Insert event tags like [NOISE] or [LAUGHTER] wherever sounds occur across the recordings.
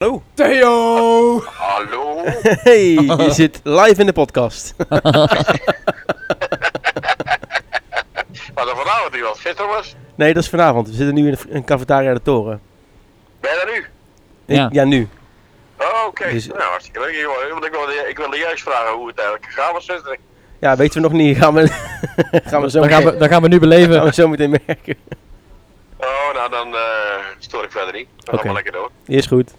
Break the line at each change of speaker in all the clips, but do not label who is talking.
Hallo.
Theo!
Hallo?
Hey,
[LAUGHS]
je zit live in de podcast.
Was er vanavond iemand? Gisteren was?
Nee, dat is vanavond. We zitten nu in een cafetaria de toren.
Ben je er nu?
Ik-
Ja.
ja, nu.
Oh, oké.
Dus-
Nou, hartstikke leuk. jongen. Want ik wilde, ik wilde juist vragen hoe het eigenlijk gegaan was gisteren.
Ja, weten we nog niet. Gaan we, [LAUGHS] gaan we zo
Dat gaan, we,
meteen-
dat gaan we nu
gaan we
beleven.
zo meteen merken.
Oh, nou dan eh stoor ik verder niet. Dan gaan
Oké. Eh,
we lekker door.
Is goed.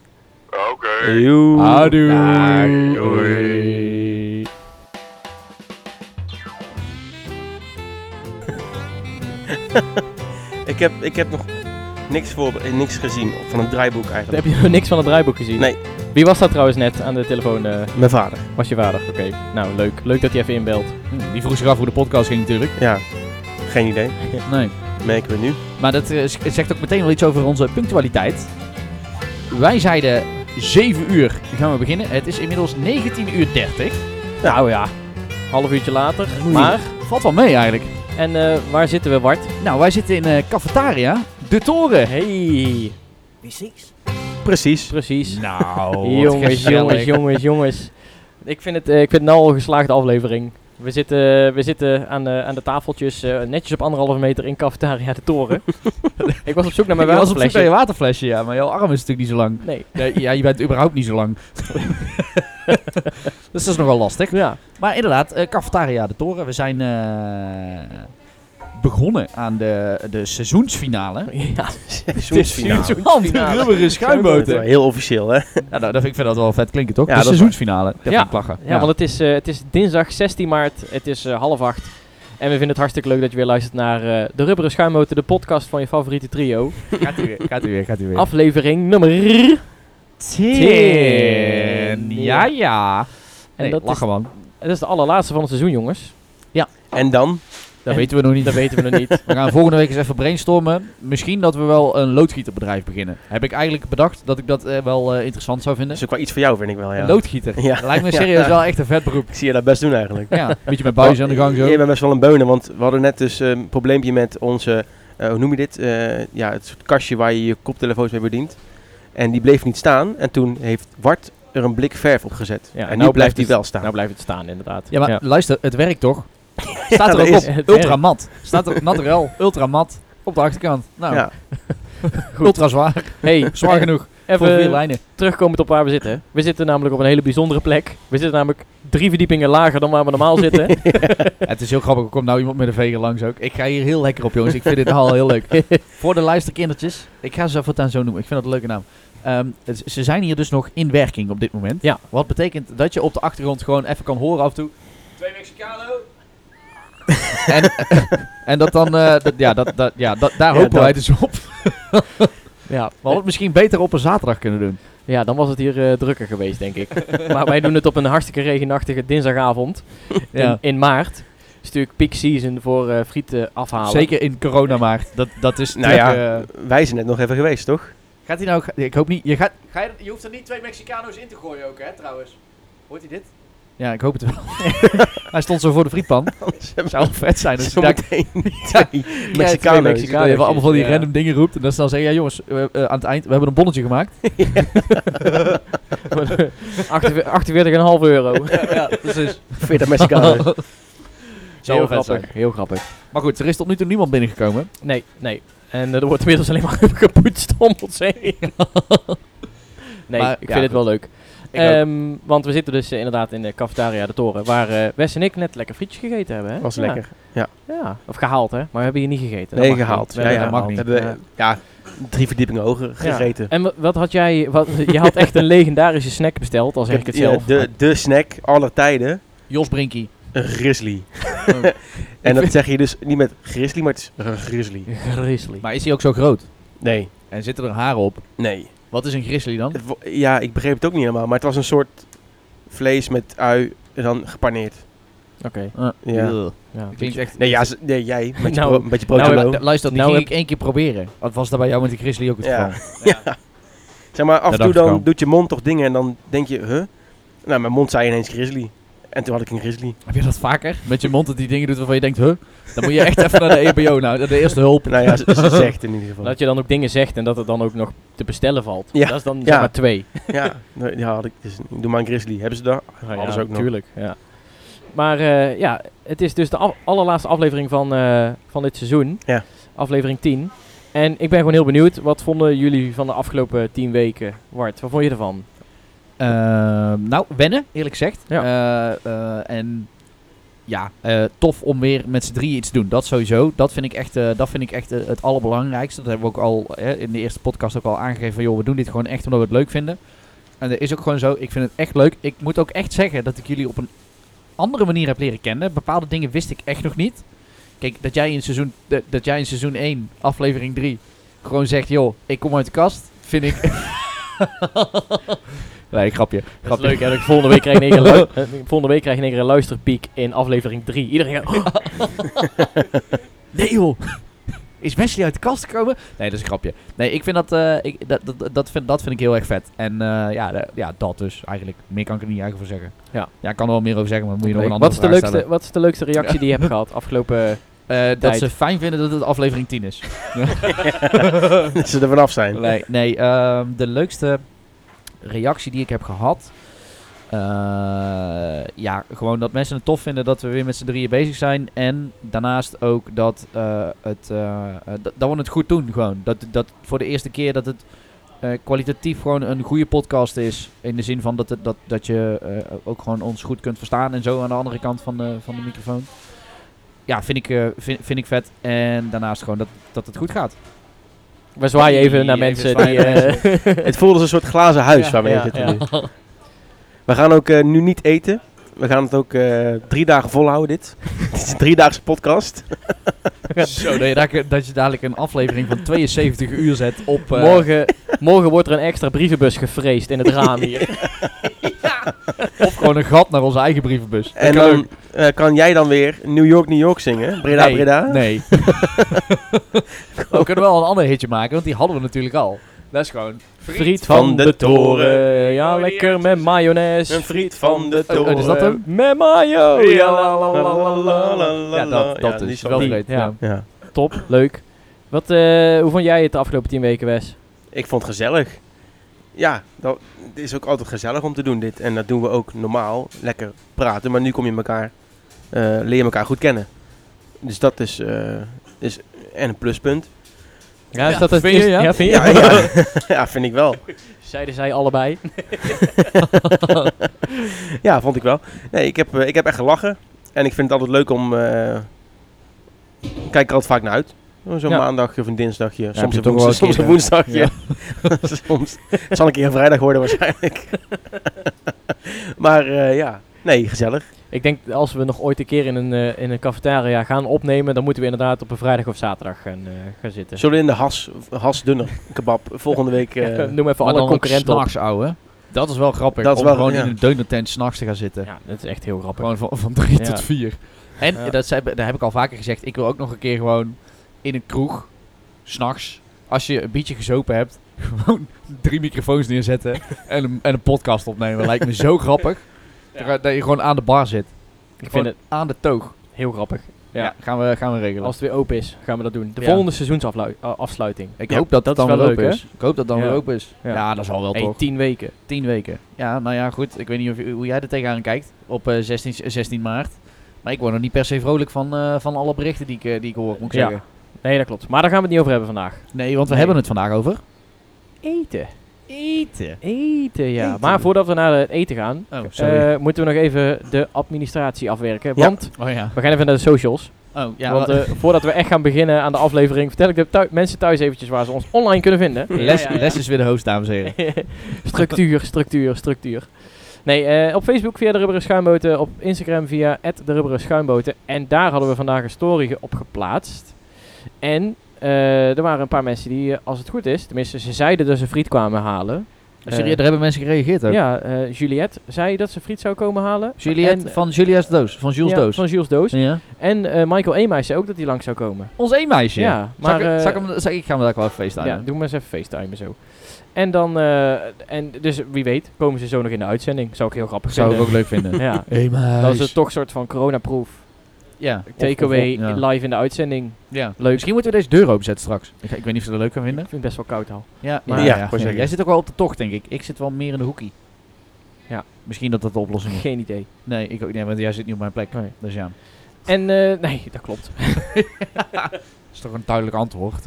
Oké.
Joe.
Houdoe.
Dag,
doei.
Ik heb, ik heb nog niks, voor, eh, niks gezien van het draaiboek eigenlijk.
Heb je nog niks van het draaiboek gezien?
Nee.
Wie was dat trouwens net aan de telefoon? eh,
Mijn vader.
was je vader? Oké. Nou, leuk. Leuk dat hij even inbelt.
Hm, Die vroeg zich af hoe de podcast ging natuurlijk.
Ja. Geen idee.
Nee.
Merken we nu.
Maar dat eh, z- zegt ook meteen wel iets over onze punctualiteit. Wij zeiden 7 uur gaan we beginnen. Het is inmiddels 19 uur 30.
Ja.
Nou ja,
Half uurtje later.
Oei.
Maar,
valt wel mee eigenlijk.
en eh, waar zitten we, Bart?
Nou, wij zitten in eh Cafetaria De Toren.
Hey.
Precies.
Precies.
[LAUGHS] Nou, wat
jongens,
gezellig.
jongens, jongens, jongens. Ik vind het, eh, ik vind het nou al een geslaagde aflevering. We zitten, we zitten aan, de, aan de tafeltjes eh, netjes op anderhalve meter in cafetaria de
[LAUGHS]
toren. ik was op zoek naar mijn
Je was op zoek naar
waterflesje.
je waterflesje, ja, maar jouw arm is natuurlijk niet zo lang.
Nee.
Nee, ja, je bent überhaupt niet zo lang. [LAUGHS] dus dat is nogal lastig.
Ja.
Maar inderdaad, eh Cafetaria de Toren. We zijn eh, begonnen aan de, de seizoensfinale.
ja.
Seizoensfinale.
Hand rubberen schuimboten.
Heel officieel, hè?
Ja, nou, dat vind ik vind dat wel vet klinken, toch?
Ja,
de
dat is
seizoensfinale. Dat
Ja.
vind ik lachen.
Ja, want het is, eh, het is dinsdag 16 maart, het is eh, half acht. En we vinden het hartstikke leuk dat je weer luistert naar eh, de Rubberen Schuimmotor, de podcast van je favoriete trio.
gaat u weer, gaat u weer, gaat u weer.
Aflevering nummer...
Tien. Ja, ja.
En
Nee,
dat
lachen, man.
Het is de allerlaatste van het seizoen, jongens.
En dan?
Dat weten we nog niet.
Dat weten we nog niet.
[LAUGHS] We gaan volgende week eens even brainstormen. Misschien dat we wel een loodgieterbedrijf beginnen. Heb ik eigenlijk bedacht dat ik dat eh, wel eh, interessant zou vinden.
Dat is ook wel iets voor jou, vind ik wel, ja.
Een loodgieter.
Ja.
Dat lijkt me serieus
[LAUGHS] Ja.
wel echt een vet beroep.
Ik zie je dat best doen eigenlijk.
Ja, een beetje met buizen aan de gang zo.
Je bent best wel een beunen, want we hadden net dus eh, een probleempje met onze, eh, hoe noem je dit? Eh, ja, het soort kastje waar je je koptelefoons mee bedient. En die bleef niet staan. En toen heeft Wart er een blik verf op gezet.
Ja,
en
nou
nu blijft
blijft
die
het-
wel staan.
Nou blijft het staan, inderdaad.
Ja, maar luister, het werkt [LAUGHS] toch? Staat
dat
er ook
is-
op.
het
Ultra mat. Staat er naturel. [LAUGHS] Ultra mat. Op de achterkant. Nou,
ja.
ultra zwaar.
Hey,
[LAUGHS] Zwaar genoeg. Voor vier
Even
lijnen.
terugkomend op waar we zitten. We zitten namelijk op een hele bijzondere plek. We zitten namelijk drie verdiepingen lager dan waar we normaal zitten.
[LAUGHS] Ja, het is heel grappig. Er komt nou iemand met een veger langs ook. Ik ga hier heel lekker op, jongens. Ik vind dit [LAUGHS] al heel leuk. Voor de luisterkindertjes. Ik ga ze voortaan zo noemen. Ik vind dat een leuke naam. Ehm, het- ze zijn hier dus nog in werking op dit moment.
Ja.
Wat betekent dat je op de achtergrond gewoon even kan horen af en toe. Twee Mexicano. [LAUGHS] en, [LAUGHS] en dat dan, eh, dat, ja, dat, dat, ja dat, daar
Ja,
hopen
dat-
wij dus op.
ja,
We hadden het misschien beter op een zaterdag kunnen doen.
Ja, dan was het hier eh, drukker geweest, denk ik.
[LAUGHS]
maar wij doen het op een hartstikke regenachtige dinsdagavond in, in maart. Het is natuurlijk peak season voor eh frieten afhalen.
Zeker in coronamaart. Dat, dat is
Nou ja,
natuurlijk, eh,
wij zijn net nog even geweest, toch?
Gaat hij nou... Ik hoop niet... Je, gaat, ga je, je hoeft er niet twee Mexicano's in te gooien ook, hè, trouwens. Hoort hij
[LAUGHS]
dit? Ja, ik hoop het wel. [LAUGHS] hij stond zo voor de frietpan. Zou wel vet zijn. Dus
Zo
ik dacht,
meteen [LAUGHS] twee
twee
Mexicano's.
Mexicano's.
dat je wel allemaal van die
Ja.
random dingen roept. En dan snel zeggen, ja jongens, eh, eh, aan het eind, we hebben een bonnetje gemaakt.
48,5 euro.
ja, precies.
40 Mexicano's.
Zou
heel
wel vet zijn.
grappig, heel grappig.
Maar goed, er is tot nu toe niemand binnengekomen.
Nee, nee. En eh, er wordt inmiddels alleen maar [LAUGHS] gepoetst om ons heen. nee,
Maar,
ik
ja,
vind het wel leuk.
Ik ook.
Ehm, want we zitten dus eh, inderdaad in de cafetaria de toren, waar eh, Wes en ik net lekker frietjes gegeten hebben. Hè?
was
Ja.
lekker.
Ja, of gehaald hè, maar we hebben hier niet gegeten.
Nee,
Dat mag
gehaald.
niet.
Ja,
We
ja,
hebben
mag
gehaald.
niet.
Hebben eh, we, ja, drie verdiepingen hoger
Ja.
gegeten.
En wa- wat had jij... Wat, je had echt een legendarische snack besteld, al zeg ik het
Ja,
zelf.
de, de snack aller tijden.
Jos Brinkie.
Een grizzly. [LAUGHS]
Oh.
en dat zeg je dus niet met grizzly, maar het is een grizzly.
Grizzly.
Maar is hij ook zo groot?
Nee,
En zitten er haren op?
nee.
Wat is een grizzly dan?
Het wo- ja, ik begreep het ook niet helemaal, maar het was een soort vlees met ui en dan gepaneerd. Dus-
Oké.
Ja.
Ah, Ugh.
Ja.
Klinkt echt...
Nee, ja, ze- nee jij, met je,
Nou,
bro- met je broodje
nou,
loo.
Ja, d- luister, die
Nou
ging ik één keer proberen. Dat was dat bij jou met de Grizzly ook het
Ja.
geval.
Zeg maar, af en
dat
toe
dacht ik
dan
al.
doet je mond toch dingen en dan denk je, huh? Nou, mijn mond zei ineens grizzly. En toen had ik een grizzly.
Heb je dat vaker? Met je mond dat die dingen doet waarvan je denkt, huh? Dan moet je echt even naar de EBO, nou, naar de eerste hulp.
Nou ja, ze, ze zegt in ieder geval.
Dat je dan ook dingen zegt en dat het dan ook nog te bestellen valt.
Ja.
Dat is dan
Ja.
zeg maar twee.
Ja, nee, ja had ik, dus, doe maar een grizzly. Hebben ze daar? [LAUGHS]
Ja,
Alles ook nog.
natuurlijk. Ja. Maar eh, ja, het is dus de af- allerlaatste aflevering van, eh, van dit seizoen.
Ja.
Aflevering 10. En ik ben gewoon heel benieuwd, wat vonden jullie van de afgelopen 10 weken? Wart, wat vond je ervan?
Ehm, nou, wennen, eerlijk gezegd.
Ja.
Eh, eh, en ja, eh, tof om weer met z'n drieën iets te doen. Dat sowieso. Dat vind ik echt, eh, dat vind ik echt eh, het allerbelangrijkste. Dat hebben we ook al hè, in de eerste podcast ook al aangegeven. Van, joh, we doen dit gewoon echt omdat we het leuk vinden. En dat is ook gewoon zo. Ik vind het echt leuk. Ik moet ook echt zeggen dat ik jullie op een andere manier heb leren kennen. Bepaalde dingen wist ik echt nog niet. Kijk, dat jij in seizoen, dat- dat jij in seizoen 1, aflevering 3, gewoon zegt... joh, ik kom uit de kast, vind ik... [LAUGHS] nee, grapje.
Dat
grapje.
is leuk, hè? dat ik Volgende week krijg je in één keer lu- [LAUGHS] eh, volgende week krijg je in één keer een luisterpiek in aflevering 3. Iedereen gaat... [LAUGHS]
Nee joh. [LAUGHS] Is Wesley uit de kast gekomen? Nee, dat is een grapje. Nee, ik vind dat, eh, ik, dat, dat, dat, vind, dat vind ik heel erg vet. En eh, ja, de- ja, dat dus eigenlijk. Meer kan ik er niet eigenlijk voor zeggen.
Ja.
ja, ik kan er wel meer over zeggen, maar dan moet je nog een
wat,
andere
is de
vraag
leukste, wat is de leukste reactie die je
[LAUGHS]
hebt gehad afgelopen...
stellen. Eh, dat
tijd?
ze fijn vinden dat het aflevering 10 is.
Dat ze er vanaf zijn.
Nee, nee ehm, de leukste reactie die ik heb gehad. eh, ja, gewoon dat mensen het tof vinden dat we weer met z'n drieën bezig zijn. En daarnaast ook dat, eh, het, eh, eh, dat, dat we het goed doen. Gewoon. Dat, dat voor de eerste keer dat het eh, kwalitatief gewoon een goede podcast is. In de zin van dat, het, dat, dat je eh, ook gewoon ons goed kunt verstaan en zo aan de andere kant van de, van de microfoon. Ja, vind ik, eh, vind, vind ik vet. En daarnaast gewoon dat, dat het goed gaat.
We zwaaien even naar
Even
mensen die...
zwaaien naar
eh, [LAUGHS]
Het voelde als een soort glazen huis
Ja,
waar we in
ja,
zitten
ja.
nu. We gaan ook eh, nu niet eten. We gaan het ook eh, drie dagen volhouden
[LAUGHS]
dit. het is een driedaagse podcast.
Zo, dat je, daar- dat je dadelijk een aflevering van 72 uur zet op... eh,
morgen, morgen wordt er een extra brievenbus gevreesd in het raam
[LAUGHS]
hier.
Of gewoon een gat naar onze eigen brievenbus.
En dan eh, kan jij dan weer New York, New York zingen. Breda,
nee,
Breda. [LAUGHS]
Nee. we kunnen wel een ander hitje maken, want die hadden we natuurlijk al. Dat is gewoon...
Friet van de toren, ja lekker met mayonaise.
Een friet van de
Oh, oh, is dat hem?
Met mayo, ja la la la la la la.
Ja,
Ja,
dat, dat
die
is
wel
wel
die,
great.
ja.
Ja.
Ja.
Top, leuk. Wat, eh, hoe vond jij het de afgelopen tien weken, Wes?
Ik vond het gezellig. Ja, dat, het is ook altijd gezellig om te doen dit. En dat doen we ook normaal. Lekker praten. Maar nu kom je elkaar, eh, leer je elkaar goed kennen. Dus dat is, eh, is en een pluspunt.
Ja, is
Ja,
dat het-
vind je,
is-
ja?
vind je?
Ja, ja. ja, vind ik wel.
[LAUGHS] Zeiden zij allebei.
Ja, vond ik wel. Nee, ik heb, eh, ik heb echt gelachen. En ik vind het altijd leuk om... eh, ik kijk er altijd vaak naar uit. Zo'n
Ja.
maandagje of een dinsdagje.
heb
soms
je
een
toch
[LAUGHS]
wel
woensdag, soms een
een eh,
woensdagje. [LAUGHS]
[LAUGHS]
soms. Het zal een keer een vrijdag worden waarschijnlijk. [LAUGHS] maar eh, ja, nee, gezellig.
Ik denk, als we nog ooit een keer in een, eh, in een cafetaria gaan opnemen, dan moeten we inderdaad op een vrijdag of zaterdag gaan, eh, gaan zitten.
Zullen we in de has, has dunner kebab volgende week... eh,
Noem even
Maar
alle
dan
concurrenten op.
s'nachts, ouwe. Dat is wel grappig,
Dat is
om
wel-
gewoon
ja.
in een deunertent s'nachts te gaan zitten.
Ja, dat is echt heel grappig.
Gewoon van, van drie
Ja.
tot vier. En
Ja.
dat, zei, dat heb ik al vaker gezegd. Ik wil ook nog een keer gewoon in een kroeg, s'nachts, als je een beetje gezopen hebt, [LAUGHS] gewoon drie microfoons neerzetten en een, en een podcast opnemen. Lijkt me [LAUGHS] zo grappig. Dat je gewoon aan de bar zit.
Ik
Gewoon
vind het
aan de toog.
heel grappig.
Ja,
Ja.
gaan, we, gaan we regelen.
Als het weer open is, gaan we dat doen. De
Ja.
volgende eh, seizoensafsluiting.
ik
Ja,
hoop dat
is
dat dan weer
wel
open
leuk,
is. Ik hoop dat dan
Ja.
weer open is. Ja,
Ja.
dat is al wel
Hey,
toch.
tien weken.
Tien weken. Ja, nou ja, goed. Ik weet niet of, je- hoe jij er tegenaan kijkt op eh, 16, 16 maart. Maar ik word er niet per se vrolijk van, eh, van alle berichten die ik, eh, die ik hoor, moet
Ja.
ik zeggen.
Nee, dat klopt. Maar daar gaan we het niet over hebben vandaag.
Nee, want we
Nee.
hebben het vandaag over
Eten.
eten.
Eten, ja.
Eten.
Maar voordat we naar het eten gaan,
Oh,
eh, moeten we nog even de administratie afwerken.
Ja.
Want
oh ja.
we gaan even naar de socials.
Oh ja.
Want
wa-
eh, voordat we echt gaan beginnen aan de aflevering, vertel ik de thui- mensen thuis eventjes waar ze ons online kunnen vinden.
[LAUGHS] les, les is weer de host, dames en heren.
[LAUGHS] structuur, structuur, structuur. Nee, eh, op Facebook via de Rubberen Schuimboten, op Instagram via de Rubberen Schuimboten. En daar hadden we vandaag een story ge- op geplaatst. En eh, er waren een paar mensen die, eh, als het goed is, tenminste ze zeiden dat ze friet kwamen halen.
Serieus, daar hebben mensen gereageerd ook.
Ja, eh, Juliette zei dat ze friet zou komen halen.
Juliette
En-
van Julia's Doos. Van Jules
Ja,
Doos.
Van Jules Doos.
ja.
En eh, Michael Eemijs zei ook dat hij langs zou komen.
Ons één meisje.
Ja, maar...
zal ik,
eh,
zal ik, hem, zal ik, ik ga hem daar wel even feesten
ja, doe maar eens even facetimen zo. En dan, eh, en dus wie weet, komen ze zo nog in de uitzending. Zou ik heel grappig
Zou ik
vinden.
ook leuk
[LAUGHS]
vinden.
Ja,
Hey, meis.
dat is het toch een soort van coronaproof.
Ja.
Takeaway
Of- of- ja.
live in de uitzending.
Ja. Leuk. Misschien moeten we deze deur openzetten straks. Ik, ga- ik weet niet of ze dat leuk gaan vinden.
Ik vind het best wel koud al.
Ja,
maar- ja, gewoon zeggen.
Jij zit ook wel op de tocht, denk ik. Ik zit wel meer in de hoekie.
Ja.
Misschien dat dat de oplossing is.
Geen idee.
Nee, ik ook niet, want jij zit niet op mijn plek.
Nee.
Dus ja,
En eh, nee, dat klopt.
dat is toch een duidelijk antwoord.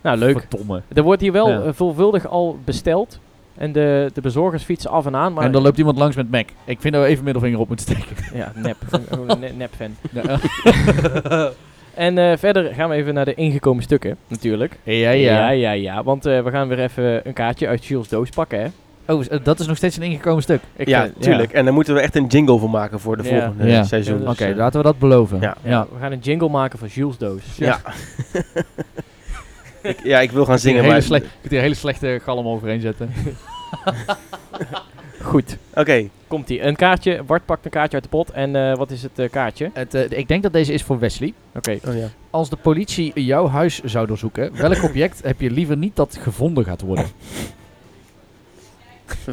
Nou, leuk.
Verdomme.
Er wordt hier wel
Ja.
eh, veelvuldig al besteld. En de, de bezorgers fietsen af en aan. Maar
en dan loopt iemand langs met Mac. Ik vind dat we even middelvinger op moeten steken.
[LAUGHS] Ja, nep. Gewoon een ne- nep fan.
ja,
En eh, verder gaan we even naar de ingekomen stukken, natuurlijk.
ja.
ja, ja. ja, want eh, we gaan weer even een kaartje uit Jules Doos pakken, hè.
Oh, is- eh, dat is nog steeds een ingekomen stuk.
Ik,
ja,
eh,
tuurlijk. En daar moeten we echt een jingle voor maken voor de
Ja.
volgende
Ja.
seizoen.
Ja,
Oké,
dat is, eh,
laten we dat beloven.
Ja.
ja, Eh, We gaan een jingle maken van Jules Doos.
Ja. ik, ja, ik wil gaan
Zingen,
zingen,
dus- hele
maar...
slecht, ik kunt hier een hele slechte galm overheen zetten.
Goed,
Oké,
komt-ie. Een kaartje. Bart pakt een kaartje uit de pot. En eh, wat is het eh, kaartje? Oké.
Het, eh, ik denk dat deze is voor Wesley.
oh, ja.
Als de politie jouw huis zou doorzoeken, welk object heb je liever niet dat gevonden gaat worden?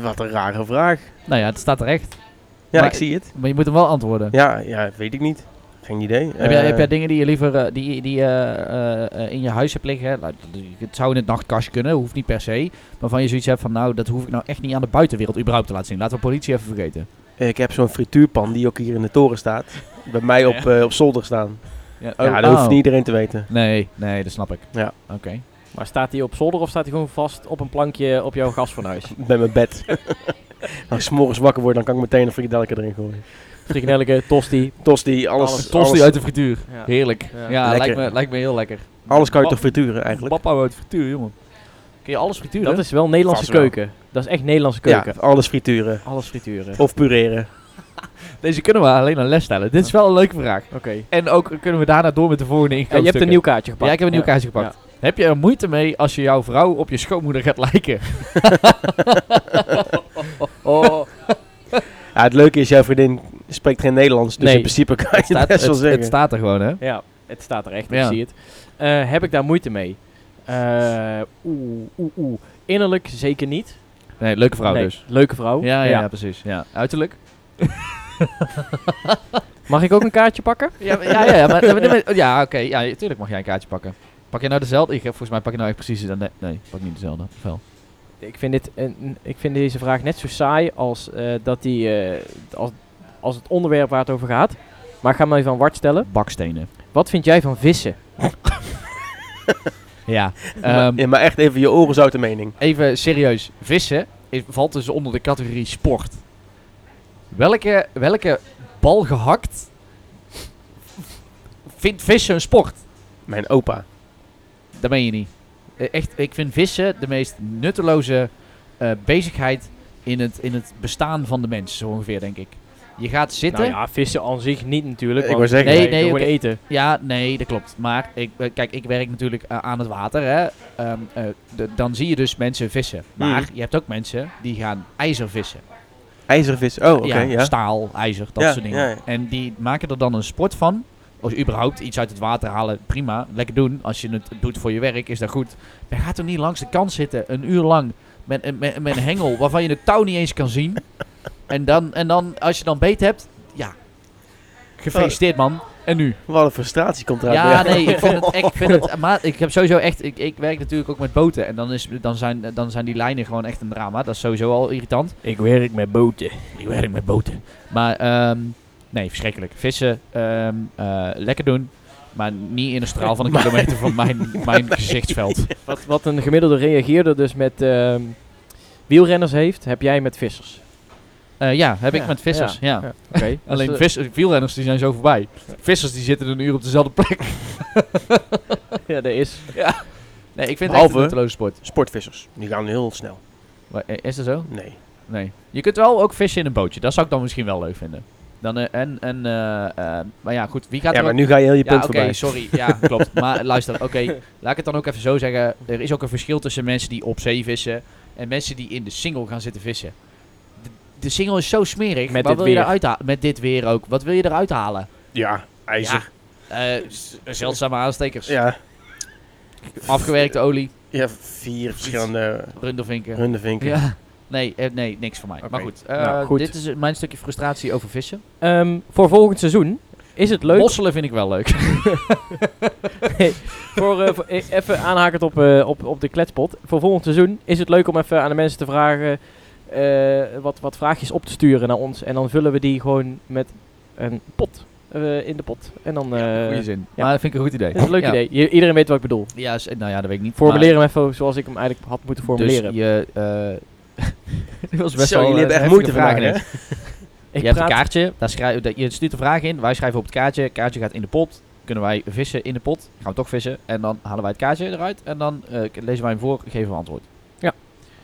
wat een rare vraag.
Nou ja, het staat er echt.
Ja,
Maar-
ik zie het.
Maar je moet hem wel antwoorden.
Ja, ja, weet ik niet. Geen idee.
heb, jij,
Eh,
heb jij dingen die je liever eh, die, die, eh, eh, eh, in je huis hebt liggen? hè? Nou, dat- het zou in het nachtkastje kunnen, hoeft niet per se. Maar van je zoiets hebt van, nou, dat hoef ik nou echt niet aan de buitenwereld überhaupt te laten zien. Laten we politie even vergeten.
Ik heb zo'n frituurpan die ook hier in de toren staat. Bij mij
[LAUGHS]
op, eh, op zolder staan.
Ja,
ja, dat hoeft niet iedereen te weten.
Oh. Nee, nee, dat snap ik.
Ja.
Oké.
Maar staat hij op zolder of staat hij gewoon vast op een plankje op jouw gasfornuis? [LAUGHS]
Bij mijn bed. [LAUGHS] Als ik 's morgens wakker word, dan kan ik meteen een frikadelletje erin gooien.
Frikandelletje, tosti.
Tosti, alles, alles,
Tosti uit de frituur.
Ja.
Heerlijk.
Ja.
Ja,
Lekker.
lijkt, me, lijkt me heel lekker.
alles kan je
Pap-
toch frituren eigenlijk?
Papa uit frituur, jongen. Kun je alles frituren?
Dat is wel Nederlandse
Vast wel.
keuken. Dat is echt Nederlandse
Ja,
keuken.
alles frituren.
Alles frituren.
Oh.
Oké.
Of pureren.
Deze kunnen we alleen aan les stellen. Dit is wel een leuke vraag. En ook kunnen we daarna door met de volgende
Ja,
inkomen.
je hebt een nieuw kaartje gepakt.
Ja, ik heb een nieuw kaartje gepakt. Heb je er moeite mee als je jouw vrouw op [LAUGHS] je schoonmoeder gaat lijken? [LAUGHS]
Oh,
Ja, het leuke is, jouw vriendin spreekt geen Nederlands. Dus
Nee.
in principe kan je het
Staat-
best wel
het,
zeggen.
het staat er gewoon, hè?
ja, het staat er echt, ik
Ja.
zie het. Eh, heb ik daar moeite mee? Eh, Oeh, oeh, oeh. Innerlijk zeker niet.
Nee, leuke vrouw
Nee,
dus.
Leuke vrouw.
Ja, ja, precies. Ja. Uiterlijk?
Mag ik ook een kaartje pakken?
Ja, ja, ja. ja, [LAUGHS] maar, maar- maar- ja oké. Ja, tuurlijk mag jij een kaartje pakken. Pak je nou dezelfde? Ik, heb- volgens mij pak je nou echt precies... de- Nee, nee pak niet dezelfde. Wel.
Ik vind, dit een, ik vind deze vraag net zo saai als, eh, dat die, eh, als, als het onderwerp waar het over gaat. Maar ik ga hem even aan Wart stellen.
Bakstenen.
Wat vind jij van vissen?
[LAUGHS] Ja.
Maar-
ehm,
ja, maar echt even je oren zouten mening.
even serieus. Vissen is- valt dus onder de categorie sport. Welke, welke bal gehakt vindt vissen een sport?
Mijn opa.
Dat meen je niet. Eh, Echt, ik vind vissen de meest nutteloze eh, bezigheid in het, in het bestaan van de mens, zo ongeveer, denk ik. Je gaat zitten.
Nou ja, vissen aan zich niet natuurlijk.
Ik
want
wou zeggen.
nee,
Nee, nee,
nee,
oké.
eten.
Ja, nee, dat klopt. Maar ik, eh, kijk, ik werk natuurlijk eh, aan het water. Hè. Ehm, eh, d- dan zie je dus mensen vissen. Maar
Hmm.
Mhm.
je hebt ook mensen die gaan ijzer vissen.
IJzervis. Oh, oké.
ja,
ja.
Staal, ijzer, dat
Ja,
soort dingen.
ja, ja.
En die maken er dan een sport van. Als je überhaupt iets uit het water halen, prima. Lekker doen. Als je het doet voor je werk, is dat goed. Maar gaat er niet langs de kant zitten, een uur lang, met, een- met, met een hengel waarvan je het touw niet eens kan zien. En dan, en dan als je dan beet hebt, ja. Gefeliciteerd man. En nu?
Wat een frustratie komt eruit. bij
Ja,
jou.
nee, ik vind het, ik vind [LAUGHS] het, maar ik heb sowieso echt, ik, ik werk natuurlijk ook met boten en dan, is, dan, zijn, dan zijn die lijnen gewoon echt een drama. Dat is sowieso al irritant.
Ik werk met boten.
Ik werk met boten. Maar ehm, nee, verschrikkelijk. Vissen, ehm, eh, lekker doen. Maar niet in een straal [LAUGHS] van een kilometer van mijn, [LAUGHS] mijn gezichtsveld.
Wat, wat een gemiddelde reageerder dus met ehm, wielrenners heeft, heb jij met vissers.
Eh, ja, heb ik
Ja,
met vissers. Ja.
ja. Oké. dus,
[LAUGHS] Alleen
eh,
vissers, wielrenners die zijn zo voorbij. Vissers die zitten een uur op dezelfde plek.
eh, Ja, dat is.
Nee, ik vind het echt
Behalve-
een nutteloze sport.
Sportvissers. Die gaan heel snel.
Maar, eh, Is dat zo?
Nee.
Nee. Je kunt wel ook vissen in een bootje. Dat zou ik dan misschien wel leuk vinden. Dan, eh, en, en, eh, eh, maar ja, goed. Wie gaat
Ja,
er ook-
maar nu ga je heel je
Ja,
punt
oké,
voorbij.
sorry. Ja,
[LAUGHS]
klopt. Maar luister, oké. Laat ik het dan ook even zo zeggen. Er is ook een verschil tussen mensen die op zee vissen En mensen die in de single gaan zitten vissen. De, de single is zo smerig.
Met
Wat
dit
wil je
weer.
eruit halen? Met dit weer ook. Wat wil je eruit halen?
Ja, ijzer.
Eh, zeldzame aanstekers. [LAUGHS]
Ja,
Afgewerkte olie.
ja vier verschillende
Rundervinken.
rundenvinken.
Ja. Nee, eh, nee, niks voor mij. Maar goed, eh,
Nou, goed.
dit is eh, mijn stukje frustratie over vissen.
Ehm, voor volgend seizoen is het leuk.
Mosselen vind ik wel leuk.
voor, eh, voor- eh, even aanhakend op, eh, op, op de kletspot. Voor volgend seizoen is het leuk om even aan de mensen te vragen eh, wat, wat vraagjes op te sturen naar ons. En dan vullen we die gewoon met een pot. eh, in de pot. En dan. eh,
Goeie zin.
ja.
Maar dat vind ik een goed idee.
dat is een leuk
Ja.
idee. Je- iedereen weet wat ik bedoel.
Ja, s- nou ja, dat weet ik niet.
Formuleer hem even zoals ik hem eigenlijk had moeten
Maar-
formuleren.
Dus je, eh, [LAUGHS] dit was best
Zo,
wel
jullie
eh,
hebben echt
heftige
moeite
vragen,
vandaag,
hè?
ik
je hebt een kaartje, daar schrijf, dat- je stuurt een vraag in, wij schrijven op het kaartje, het kaartje gaat in de pot. Kunnen wij vissen in de pot? Gaan we toch vissen? En dan halen wij het kaartje eruit en dan eh, k- lezen wij hem voor, geven we antwoord.
Ja.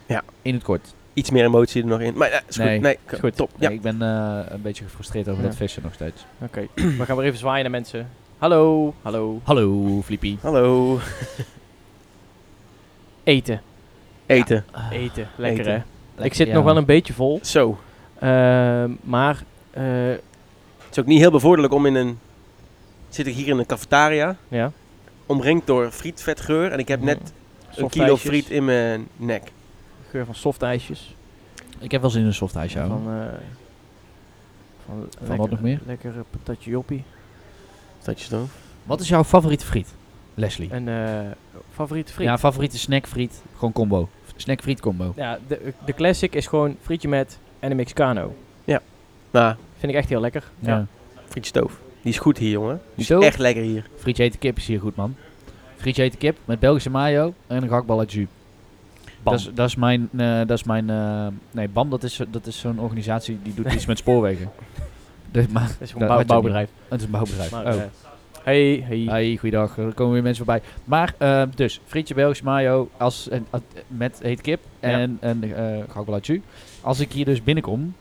Ja.
In het kort.
Iets meer emotie er nog in. Maar ja, is goed.
Nee.
Nee,
Is goed.
top.
Nee,
Ja.
Ik ben eh, een beetje gefrustreerd over
Ja.
dat vissen nog steeds.
Oké, we gaan weer even zwaaien naar mensen. Hallo, hallo.
Hallo, Flippy.
Hallo.
Eten,
Eten.
eten. Lekker
Eten.
hè? Ik zit nog wel een beetje vol.
Zo.
Ehm, maar eh,
Het is ook niet heel bevorderlijk om in een... Zit ik hier in een cafetaria,
ja.
omringd door frietvetgeur. En ik heb
Mm.
net een
Softijsjes.
kilo friet in mijn nek.
Geur van softijsjes.
Ik heb wel zin in een soft ijsje. hoor.
Van, eh, van,
wat nog meer?
Lekker patatje joppie.
Staat je zo?
Wat is jouw favoriete friet, Leslie?
En eh favoriete friet?
Ja, favoriete snackfriet, gewoon combo. Snackfriet combo.
Ja, de, de classic is gewoon frietje met en een mexicano.
Nou,
Vind ik echt heel lekker.
Ja.
frietstoof. Die is goed hier, jongen. Die is
Zo?
echt lekker hier.
Frietje eten kip is hier goed, man. Frietje eten kip met Belgische mayo en een gehaktbal uit jus.
Bam.
Dat is- dat is mijn... eh, dat is mijn eh, nee, BAM, dat is, dat is zo'n organisatie die doet iets
[LAUGHS]
met spoorwegen. De, maar,
Dat is
Dat
gewoon een bouw-
had je
bouwbedrijf.
het is een bouwbedrijf.
Maar,
oh.
eh, hey, hey.
Hey, goeiedag. Er komen weer mensen voorbij. Maar, eh, dus, frietje Belgische mayo als, en, eh, met heet kip en een eh gehaktbal uit jus. Als ik hier dus binnenkom,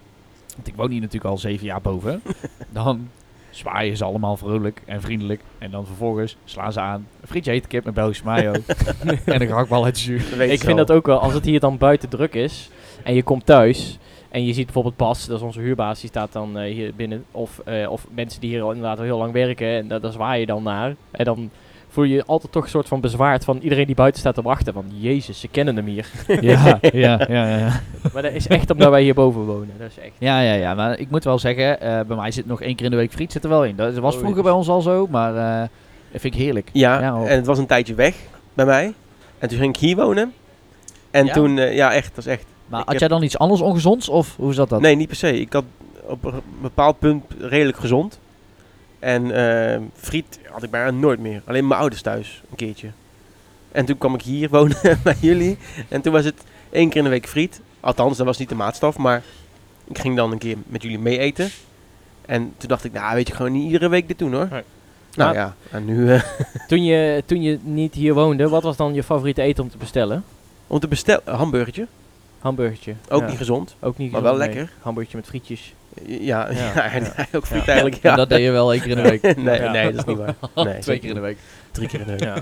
want ik woon hier natuurlijk al zeven jaar [LAUGHS] boven, dan zwaaien ze allemaal vrolijk en vriendelijk. En dan vervolgens slaan ze aan een frietje heet kip met Belgische [LAUGHS] mayo en een gehaktbal uit jus.
Dat weet
Ik
ze
vind
al.
dat ook wel, als het hier dan buiten druk is en je komt thuis en je ziet bijvoorbeeld Bas, dat is onze huurbaas, die staat dan eh, hier binnen. Of, eh, of mensen die hier al inderdaad al heel lang werken en da- daar zwaai je dan naar. En dan voel je je altijd toch een soort van bezwaard van iedereen die buiten staat te wachten. Van jezus, ze kennen hem hier. [LAUGHS]
Ja, ja, ja, ja.
maar dat is echt omdat wij hierboven wonen. Dat is echt.
Ja, ja, ja. Maar ik moet wel zeggen, eh, bij mij zit nog één keer in de week friet zit er wel in. Dat was
Oh,
vroeger bij ons al zo, maar eh, dat vind ik heerlijk.
Ja,
Ja, hoor.
en het was een tijdje weg bij mij. En toen ging ik hier wonen. En
Ja?
toen, eh, ja echt, dat was echt.
Maar
Ik
had
heb-
jij dan iets anders ongezonds of hoe zat dat?
Nee, niet per se. Ik had op een bepaald punt redelijk gezond. En eh, friet had ik bijna nooit meer. Alleen mijn ouders thuis, een keertje. En toen kwam ik hier [LAUGHS] wonen bij jullie. En toen was het één keer in de week friet. Althans, dat was niet de maatstaf, maar ik ging dan een keer met jullie mee eten. En toen dacht ik, nou weet je, gewoon niet iedere week dit doen hoor.
Nee.
Nou
Maar-
ja, en nu eh,
Toen, je, toen je niet hier woonde, wat was dan je favoriete eten om te bestellen?
om te bestellen, een hamburgertje.
Hamburgertje.
Ook
Ja.
niet gezond.
Ook niet
maar
gezond,
wel
nee.
lekker.
Hamburgertje met frietjes.
[LAUGHS] Ja, ja,
Ja,
en
ja.
ook friet
Ja.
eigenlijk.
En
Ja.
dat deed je wel één keer in de week.
[LAUGHS]
[LAUGHS]
nee,
Ja.
nee, dat is niet
[LAUGHS]
waar. Nee,
Twee keer in de week.
Drie keer in de week.
Ja.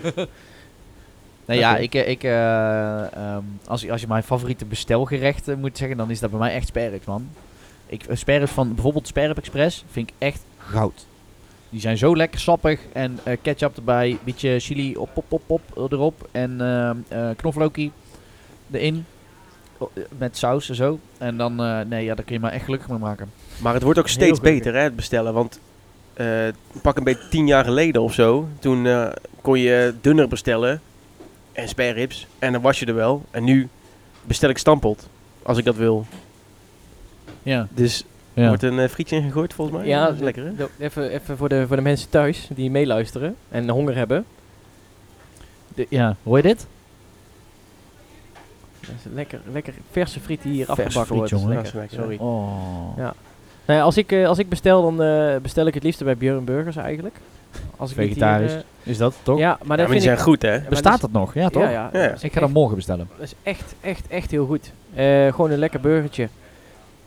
Nee, ja,
Oké.
ik, eh, ik, eh, ehm, als, je- als je mijn favoriete bestelgerecht eh, moet zeggen, dan is dat bij mij echt sperrips, man. Ik, eh, sperrips van bijvoorbeeld Sperrip Express vind ik echt goud. Die zijn zo lekker sappig en eh, ketchup erbij, beetje chili op, pop, pop, pop eh, erop en ehm eh, knoflookie erin. O- eh, Met saus en zo. En dan, eh, nee, ja, daar kun je me echt gelukkig mee maken.
Maar het wordt ook
Heel
steeds
gelukkig.
beter, hè, het bestellen. Want eh, pak een beetje tien jaar geleden of zo, toen eh, kon je dunner bestellen en spare ribs. En dan was je er wel. En nu bestel ik stampot, als ik dat wil.
Ja,
Dus er
ja.
wordt een eh, frietje ingegooid volgens mij.
Ja,
dat is lekker, hè?
Do- Even, even voor, de, voor de mensen thuis die meeluisteren en honger hebben.
De- ja. hoor je dit?
Dat is lekker, lekker verse friet die hier
Verse
afgebakken wordt.
friet,
Dat is
jongen.
lekker,
Dat is
sorry.
lekker,
Oh.
Ja. Nou ja, als, ik, eh, als ik bestel, dan eh, bestel ik het liefst bij Björn Burgers eigenlijk. Als ik niet hier,
Vegetarisch,
eh,
Is dat toch?
ja,
Ja,
maar dat
maar die
vind
zijn
ik...
goed, hè?
maar
Bestaat
dat
dat nog? Ja, toch?
Ja, ja,
Ja.
Dat is
Ik ga dat
echt-
morgen bestellen.
Dat is echt, echt, echt heel goed. Eh, gewoon een lekker burgertje.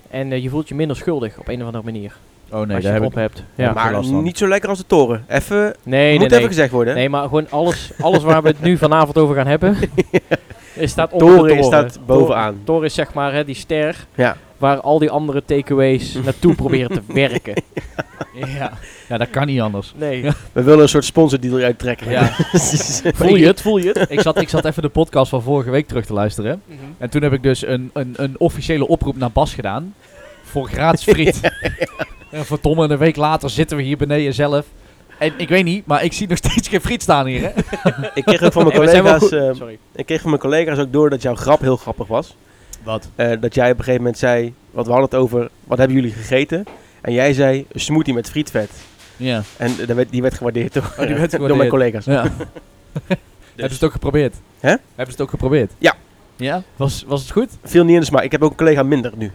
En eh, je voelt je minder schuldig op een of andere manier.
Oh nee,
als je
daar
het
heb
op
ik.
hebt. Ja.
heb ik
maar
last van.
niet zo lekker als de toren. Even,
Nee, nee,
moet
nee.
even gezegd worden.
Nee, maar gewoon alles, alles waar we het nu vanavond over gaan
[LAUGHS]
hebben, is staat onder de
toren
toren.
staat bovenaan.
Tor- Toren is zeg maar hè, die ster
Ja.
waar al die andere
[LAUGHS]
takeaways naartoe proberen te werken.
Ja. ja, dat kan niet anders.
Nee.
We willen een soort sponsordeal eruit trekken. [LAUGHS] Dus-
Ja.
Voel je het? Voel je het?
[LAUGHS] ik, zat, ik zat even de podcast van vorige week terug te luisteren.
Mhm.
En toen heb ik dus een, een, een officiële oproep naar Bas gedaan. Voor gratis friet. En verdomme, een week later zitten we hier beneden zelf. En ik weet niet, maar ik zie nog steeds geen friet staan hier. Hè?
ik kreeg ook van mijn
Nee, we zijn wel
collega's... eh,
goed. Sorry.
Ik kreeg van mijn collega's ook door dat jouw grap heel grappig was.
Wat?
Eh, dat jij op een gegeven moment zei, want we hadden het over, wat hebben jullie gegeten? En jij zei, een smoothie met frietvet.
Ja.
En eh, dat werd- die werd gewaardeerd door,
werd
[LAUGHS] door mijn
gewaardeerd.
collega's.
[LAUGHS] Hebben ze het ook geprobeerd?
Hè?
Hebben ze het ook geprobeerd?
Ja.
Ja? Was, was het goed?
Veel niet in de smaak. Ik heb ook een collega minder nu.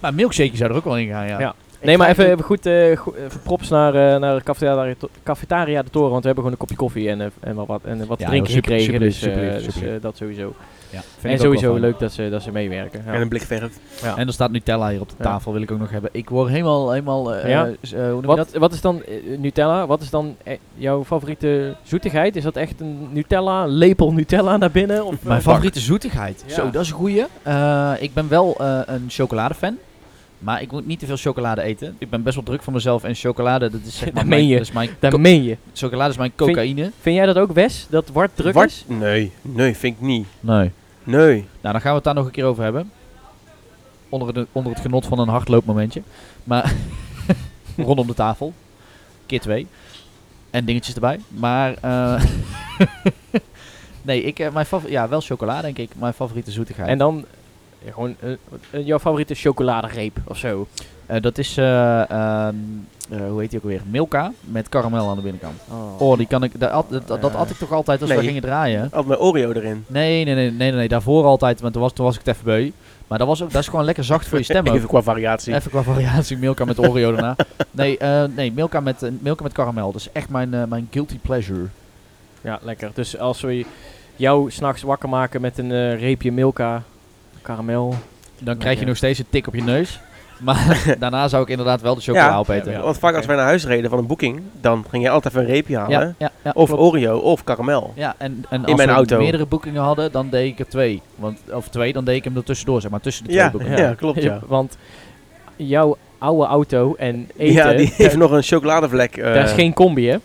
Maar milkshake zou er ook wel in gaan, ja.
Ja. Nee, maar
Ik ga
even, even goed, eh, go- even props naar, eh naar cafetaria, cafetaria de Toren, want we hebben gewoon een kopje koffie en, eh, en wat, wat, en eh, wat te
Ja,
drinken
joh, super,
gekregen,
super lief,
dus, eh,
super lief,
dus,
super
eh,
lief.
dat sowieso.
Ja, vind ik
En
ook wel
sowieso
fijn.
leuk dat ze, dat ze meewerken. ja.
En een blik verf.
Ja.
En er staat Nutella hier op de
Ja.
tafel, wil ik ook nog hebben. Ik word helemaal, helemaal, eh,
Ja?
eh, s- eh, hoe noem je dat?
Wat, wat is dan, eh, Nutella, wat is dan eh, jouw favoriete zoetigheid? Is dat echt een Nutella, lepel Nutella naar binnen? Of,
Mijn
eh,
favoriete zoetigheid.
Ja.
Zo, dat is een goeie. Eh, ik ben wel eh, een chocoladefan. Maar ik moet niet te veel chocolade eten. Ik ben best wel druk voor mezelf. En chocolade, dat is zeg
[LAUGHS] Dat
maar
meen
mijn,
je.
dat is mijn
Dat
co-
meen je.
chocolade is mijn
Vind-
cocaïne.
Vind jij dat ook, Wes, dat Wart druk
Wat?
is?
Nee, nee, vind ik niet.
Nee.
Nee.
Nou, dan gaan we het daar nog een keer over hebben. Onder, de, onder het genot van een hardloopmomentje. Maar [LAUGHS] rondom de tafel. Keer twee. En dingetjes erbij. Maar, eh, [LAUGHS] nee, ik, eh, mijn favor- ja, wel chocolade denk ik. Mijn favoriete zoetigheid.
En dan eh, gewoon eh, eh, jouw favoriete chocoladereep of zo.
Eh, dat is, eh, ehm, eh, hoe heet die ook alweer? Milka met karamel aan de binnenkant. Oh, die kan ik, dat, at, dat, dat at ik toch altijd als we
Nee.
gingen draaien?
Altijd mijn Oreo erin.
Nee, nee, nee, nee, nee, nee, daarvoor altijd, want toen was, toen was ik het even beu. Maar dat, was ook, dat is gewoon lekker zacht voor je
[LAUGHS]
stem ook.
Even qua variatie.
Even qua variatie, Milka met Oreo [LAUGHS] daarna. Nee, eh, nee Milka, met, eh, Milka met karamel. Dat is echt mijn, eh, mijn guilty pleasure.
Ja, lekker. Dus als we jou s'nachts wakker maken met een eh, reepje Milka, karamel.
Dan krijg je
Lekker.
nog steeds een tik op je neus. [LAUGHS] Maar daarna zou ik inderdaad wel de chocola
Ja.
opeten.
Ja,
Want vaak als
oké.
wij naar huis reden van een boeking, dan ging jij altijd even een reepje halen.
ja, ja,
Of
klopt.
Oreo of karamel.
Ja, en, en als
mijn
we
auto.
meerdere boekingen hadden, dan deed ik er twee. Want, of twee, dan deed ik hem er tussendoor, zeg maar. Tussen de twee
Ja,
boekingen.
ja, klopt
[LAUGHS]
ja.
Want jouw oude auto en eten,
Ja, die heeft
daar,
nog een chocoladevlek. eh,
daar is geen combi, hè?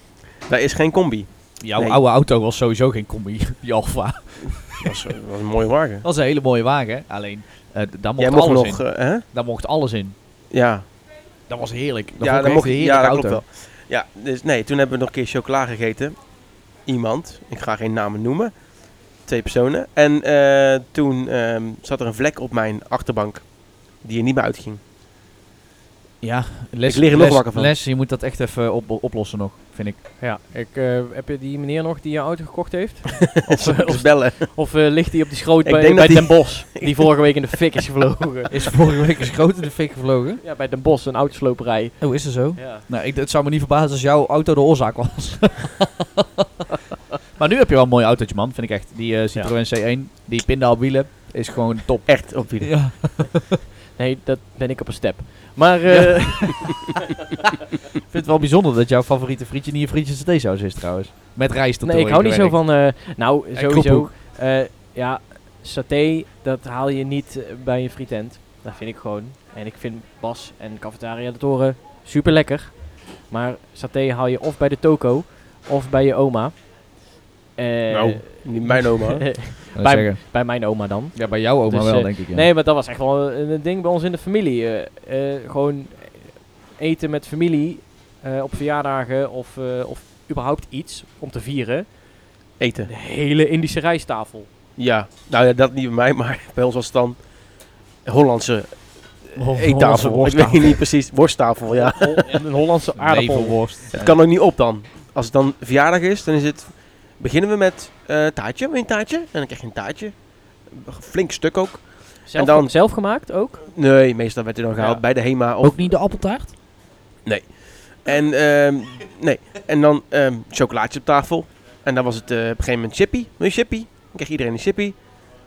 daar is geen combi.
Jouw
Nee.
oude auto was sowieso geen combi, [LAUGHS] die Alfa. Dat
Dat was, dat was een mooie wagen.
was een hele mooie wagen, alleen eh, d- daar mocht
Jij mocht
alles
nog,
in.
eh, hè?
Daar mocht alles in.
Ja,
Dat was heerlijk. Dat
ja,
vond ik
dan
echt
mocht
een
je.
heerlijke
Ja, dat
auto.
klopt wel. Ja, dus nee, toen hebben we nog een keer chocola gegeten. Iemand, ik ga geen namen noemen. Twee personen. En eh, toen ehm, zat er een vlek op mijn achterbank. Die er niet meer uitging.
Ja, les,
Ik lig er nog
les-
wakker van.
Les, je moet dat echt even op, oplossen nog, vind ik.
Ja. Ik, eh, heb je die meneer nog die je auto gekocht
[LAUGHS]
heeft?
Of,
eh, of-
bellen.
Of eh, ligt die op die schroot
Ik
bij,
denk
bij
dat
Den Bos,
[LAUGHS]
die vorige week in de fik is gevlogen?
Is vorige week eens groot in de fik gevlogen?
Ja, bij Den Bos, een autosloperij.
[LAUGHS] Oh, is dat zo?
Ja.
Nou, ik, het zou me niet verbazen als jouw auto de oorzaak [LAUGHS] was. maar nu heb je wel een mooi autootje, man, vind ik echt. Die eh, Citroën C1, die pindaalwielen, is gewoon top.
Echt op wie?
Ja.
Nee, dat ben ik op een step. Maar eh,
Ik vind het wel bijzonder dat jouw favoriete frietje niet je frietjes theesaus is trouwens. Met rijst
nee, ik hou niet zo van. eh, nou, sowieso.
kroephoek.
eh, ja, saté, dat haal je niet eh, bij een frietent. Dat vind ik gewoon. En ik vind Bas en Cafetaria de Toren super lekker. Maar saté haal je of bij de toko of bij je oma. Eh,
Nou, niet mijn oma. hoor.
bij-
Bij,
[LAUGHS] bij mijn oma dan.
ja, bij jouw oma
Dus,
wel,
eh,
denk ik. Ja.
Nee, maar dat was echt wel een, een ding bij ons in de familie. Eh, eh, gewoon eten met familie eh, op verjaardagen of, eh, of überhaupt iets om te vieren.
Eten.
De hele Indische rijsttafel.
Ja, nou ja, dat niet bij mij, maar bij ons was het dan Hollandse
Hol- Hollandse
eettafel. Oh, Ik
worsttafel.
weet niet precies,
Oh
worsttafel, ja.
Hol- een
[LAUGHS]
Hollandse aardappel.
Leverworst.
Het kan ook niet op dan. Als het dan verjaardag is, dan is het. Beginnen we met eh, taartje, wil je een taartje? En dan krijg je een taartje. Een Flink stuk ook.
Zelf,
En dan-
zelf gemaakt ook.
Nee, meestal werd het dan gehaald
Ja.
bij de HEMA. Of,
Ook niet de appeltaart?
En, ehm, nee. en dan ehm chocolaatje op tafel. En dan was het eh, op een gegeven moment chippy. Wil je een chippy? Dan kreeg iedereen een chippy.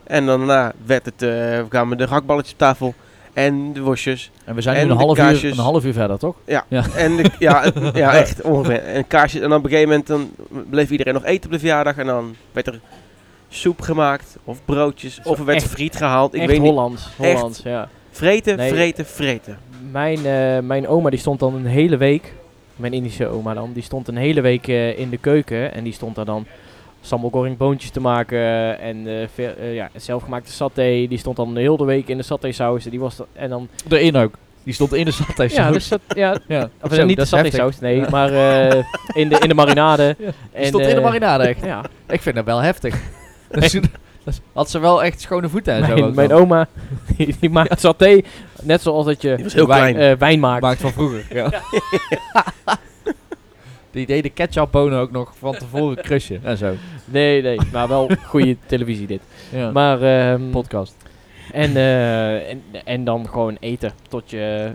En daarna werd het, eh, kwamen de hakballetjes op tafel. en de worstjes.
En we zijn
En
nu een
de
half, uur,
kaarsjes.
een half uur verder, toch?
En de, ja, het-
[LAUGHS]
ja, echt ongeveer. En kaarsjes. En dan op een gegeven moment dan bleef iedereen nog eten op de verjaardag. En dan werd er soep gemaakt of broodjes. Of er werd
echt-
friet gehaald. Ik
echt
weet niet.
Hollands.
Echt.
Hollands, ja.
Vreten,
Nee.
vreten, vreten.
Mijn, eh, mijn oma die stond dan een hele week, mijn Indische oma dan, die stond een hele week eh, in de keuken en die stond daar dan sambalgoreng boontjes te maken eh, en eh, ver- eh, ja, zelfgemaakte saté. Die stond dan de hele week in de satésaus en die was da- en dan
Erin ook. Die stond in de saté.
ja, dus dat, ja,
ja.
of,
Zo,
eh, niet de
dat is heftig.
satésaus, nee,
[LAUGHS]
maar eh, in, de, in de marinade.
Ja. Die
En,
stond in de
eh,
marinade, [LAUGHS] echt.
Ja,
Ik vind dat wel [LAUGHS] heftig. Dat is- dat is- had ze wel echt schone voeten en zo.
mijn,
ook
mijn
dan.
oma [LAUGHS] die, die maakt saté net zoals dat je
Die was heel
Wijn,
klein.
eh, wijn maakt.
Maakt van vroeger, ja. [LAUGHS] Die deed de ketchupbonen ook nog van tevoren crushen en zo.
Nee, nee, maar wel
[LAUGHS]
goede televisie dit.
Ja.
Maar ehm,
podcast.
En, eh, en, en dan gewoon eten tot je,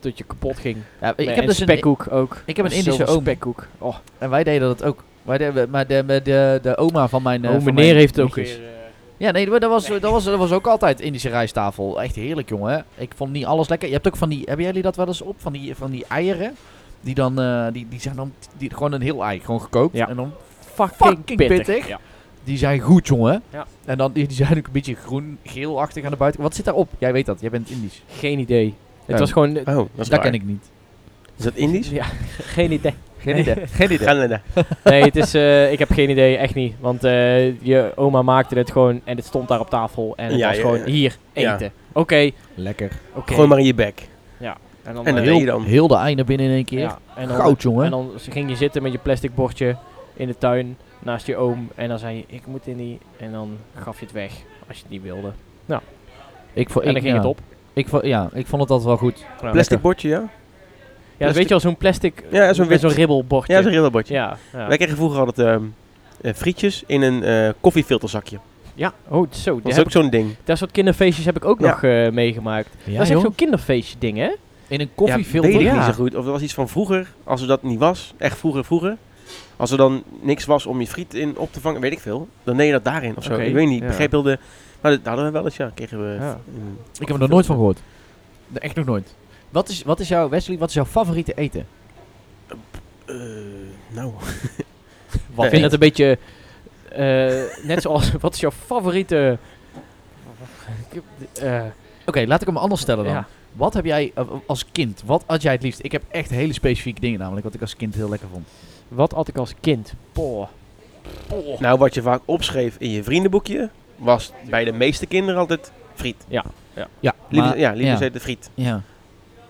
tot je kapot ging.
Ja, ik
Nee,
heb
en
dus een,
spekkoek ook.
ik heb een
Er is zoveel
Indische oom.
spekkoek. Oh,
En wij deden dat ook. Wij deden, maar de, de, de, de oma van mijn... eh,
oh,
van
meneer
mijn
heeft het ook
nichtjes.
eens.
Ja, nee, maar dat was, dat, was, dat was ook altijd Indische rijsttafel. Echt heerlijk, jongen. hè. Ik vond niet alles lekker. Je hebt ook van die... Hebben jullie dat wel eens op? Van die, van die eieren? Die dan... eh, die, die zijn dan... Die, gewoon een heel ei. Gewoon gekookt.
Ja.
En dan...
Fucking,
Fucking
pittig.
pittig.
Ja.
Die zijn goed, jongen.
Ja.
En dan... Die, die zijn ook een beetje groen-geelachtig aan de buitenkant. Wat zit daarop? Jij weet dat. Jij bent Indisch.
Geen idee.
Ja.
Het was gewoon...
Oh, dat is
Dat,
raar.
ken ik niet.
Is dat Indisch?
Ja, [LAUGHS] geen idee.
Geen idee. Geen idee.
Canada.
Nee, het is, eh, ik heb geen idee, echt niet. Want eh, je oma maakte het gewoon en het stond daar op tafel. En het
Ja,
was
ja,
gewoon
ja.
hier,
Ja.
eten. Oké,
Lekker.
oké.
Gooi maar in je bek.
En dan,
En
eh,
dat deed je dan.
[LAUGHS] Heel de ei naar binnen in één keer.
ja, en dan,
Goud, jongen.
En dan ging je zitten met je plastic bordje in de tuin naast je oom. En dan zei je, ik moet in die. En dan gaf je het weg als je het niet wilde.
ik vond,
en
ik,
dan ging
ja.
het op.
Ik vond, ja, ik vond het altijd wel goed.
Ja,
Plastic bordje, ja?
Ja, dat weet je wel, zo'n plastic.
Ja, zo'n
met
wit-
zo'n ribbelbordje.
Ja, zo'n heel bordje.
Ja, ja.
Wij kregen vroeger altijd ehm, eh, frietjes in een eh, koffiefilterzakje.
Ja, oh, zo.
Dat
Dat,
is ook zo'n ding.
dat soort kinderfeestjes heb ik ook
Ja.
nog eh, meegemaakt. dat is echt zo'n kinderfeestje ding, hè?
In een
Ja,
koffiefilter.
weet ik
Ja.
niet zo goed. Of dat was iets van vroeger, als er dat niet was. Echt vroeger, vroeger. Als er dan niks was om je friet in op te vangen, weet ik veel. Dan deed je dat daarin of zo.
Oké,
ik weet niet. Ik
ja.
begreep heel de... Maar dat hadden we wel eens, ja. Kregen we...
Ja.
mm,
Ik heb er nooit van gehoord. Nee, Echt nog nooit. Wat is, wat is jouw, Wesley, wat is jouw favoriete eten?
eh, nou...
Ik vind het een beetje... eh, net zoals, [LAUGHS] wat is jouw favoriete... Eh,
Oké, laat ik hem anders stellen dan.
ja.
Wat heb jij eh, als kind, wat had jij het liefst? Ik heb echt hele specifieke dingen namelijk, wat ik als kind heel lekker vond.
Wat had ik als kind? Boah.
Nou, wat je vaak opschreef in je vriendenboekje... was bij de meeste kinderen altijd friet.
Ja,
Liever,
maar-
ja, liever
ja.
zei de friet.
ja.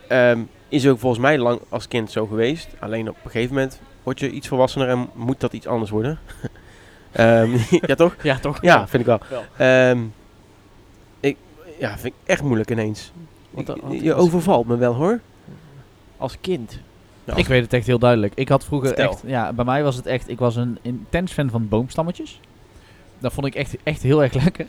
Ehm, is ook volgens mij lang als kind zo geweest. Alleen op een gegeven moment word je iets volwassener en moet dat iets anders worden. [LAUGHS] Ehm, [LAUGHS] ja, toch?
Ja, toch?
Ja, vind ik wel.
Wel.
Ehm, ik, ja, vind ik echt moeilijk ineens.
Wat dan-
Ik-
wat-
je overvalt me wel hoor.
Als kind.
Ja.
Ik weet het echt heel duidelijk. Ik had vroeger
Vertel.
echt, ja, bij mij was het echt, ik was een intens fan van boomstammetjes. Dat vond ik echt, echt heel erg lekker.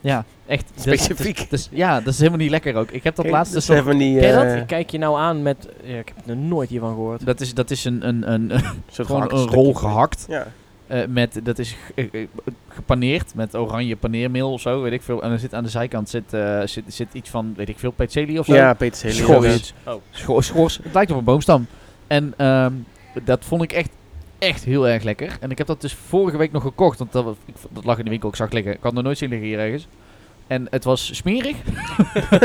Ja, echt. dat-
Specifiek.
dat is- ja, dat is helemaal niet lekker ook. Ik heb dat laatst dus nog-
Seven die,
Ken je dat?
eh,
Ik kijk je nou aan met... ja, ik heb er nooit hiervan gehoord.
Dat is, dat is een, een, een,
soort
gewoon
gehakt
een
stukje.
rol gehakt.
Ja.
Eh, met, dat is ge- eh, eh, gepaneerd met oranje paneermeel of zo, weet ik veel. En er zit aan de zijkant zit, eh, zit, zit iets van, weet ik veel, peterselie of zo.
ja, Peter Celia.
schors.
Oh.
Scho- schors. Het lijkt op een boomstam. En ehm, dat vond ik echt, echt heel erg lekker. En ik heb dat dus vorige week nog gekocht, want dat, was- ik, vond- dat lag in de winkel, ik zag het liggen. Ik had nog nooit zien liggen hier ergens. En het was smerig. [LAUGHS] het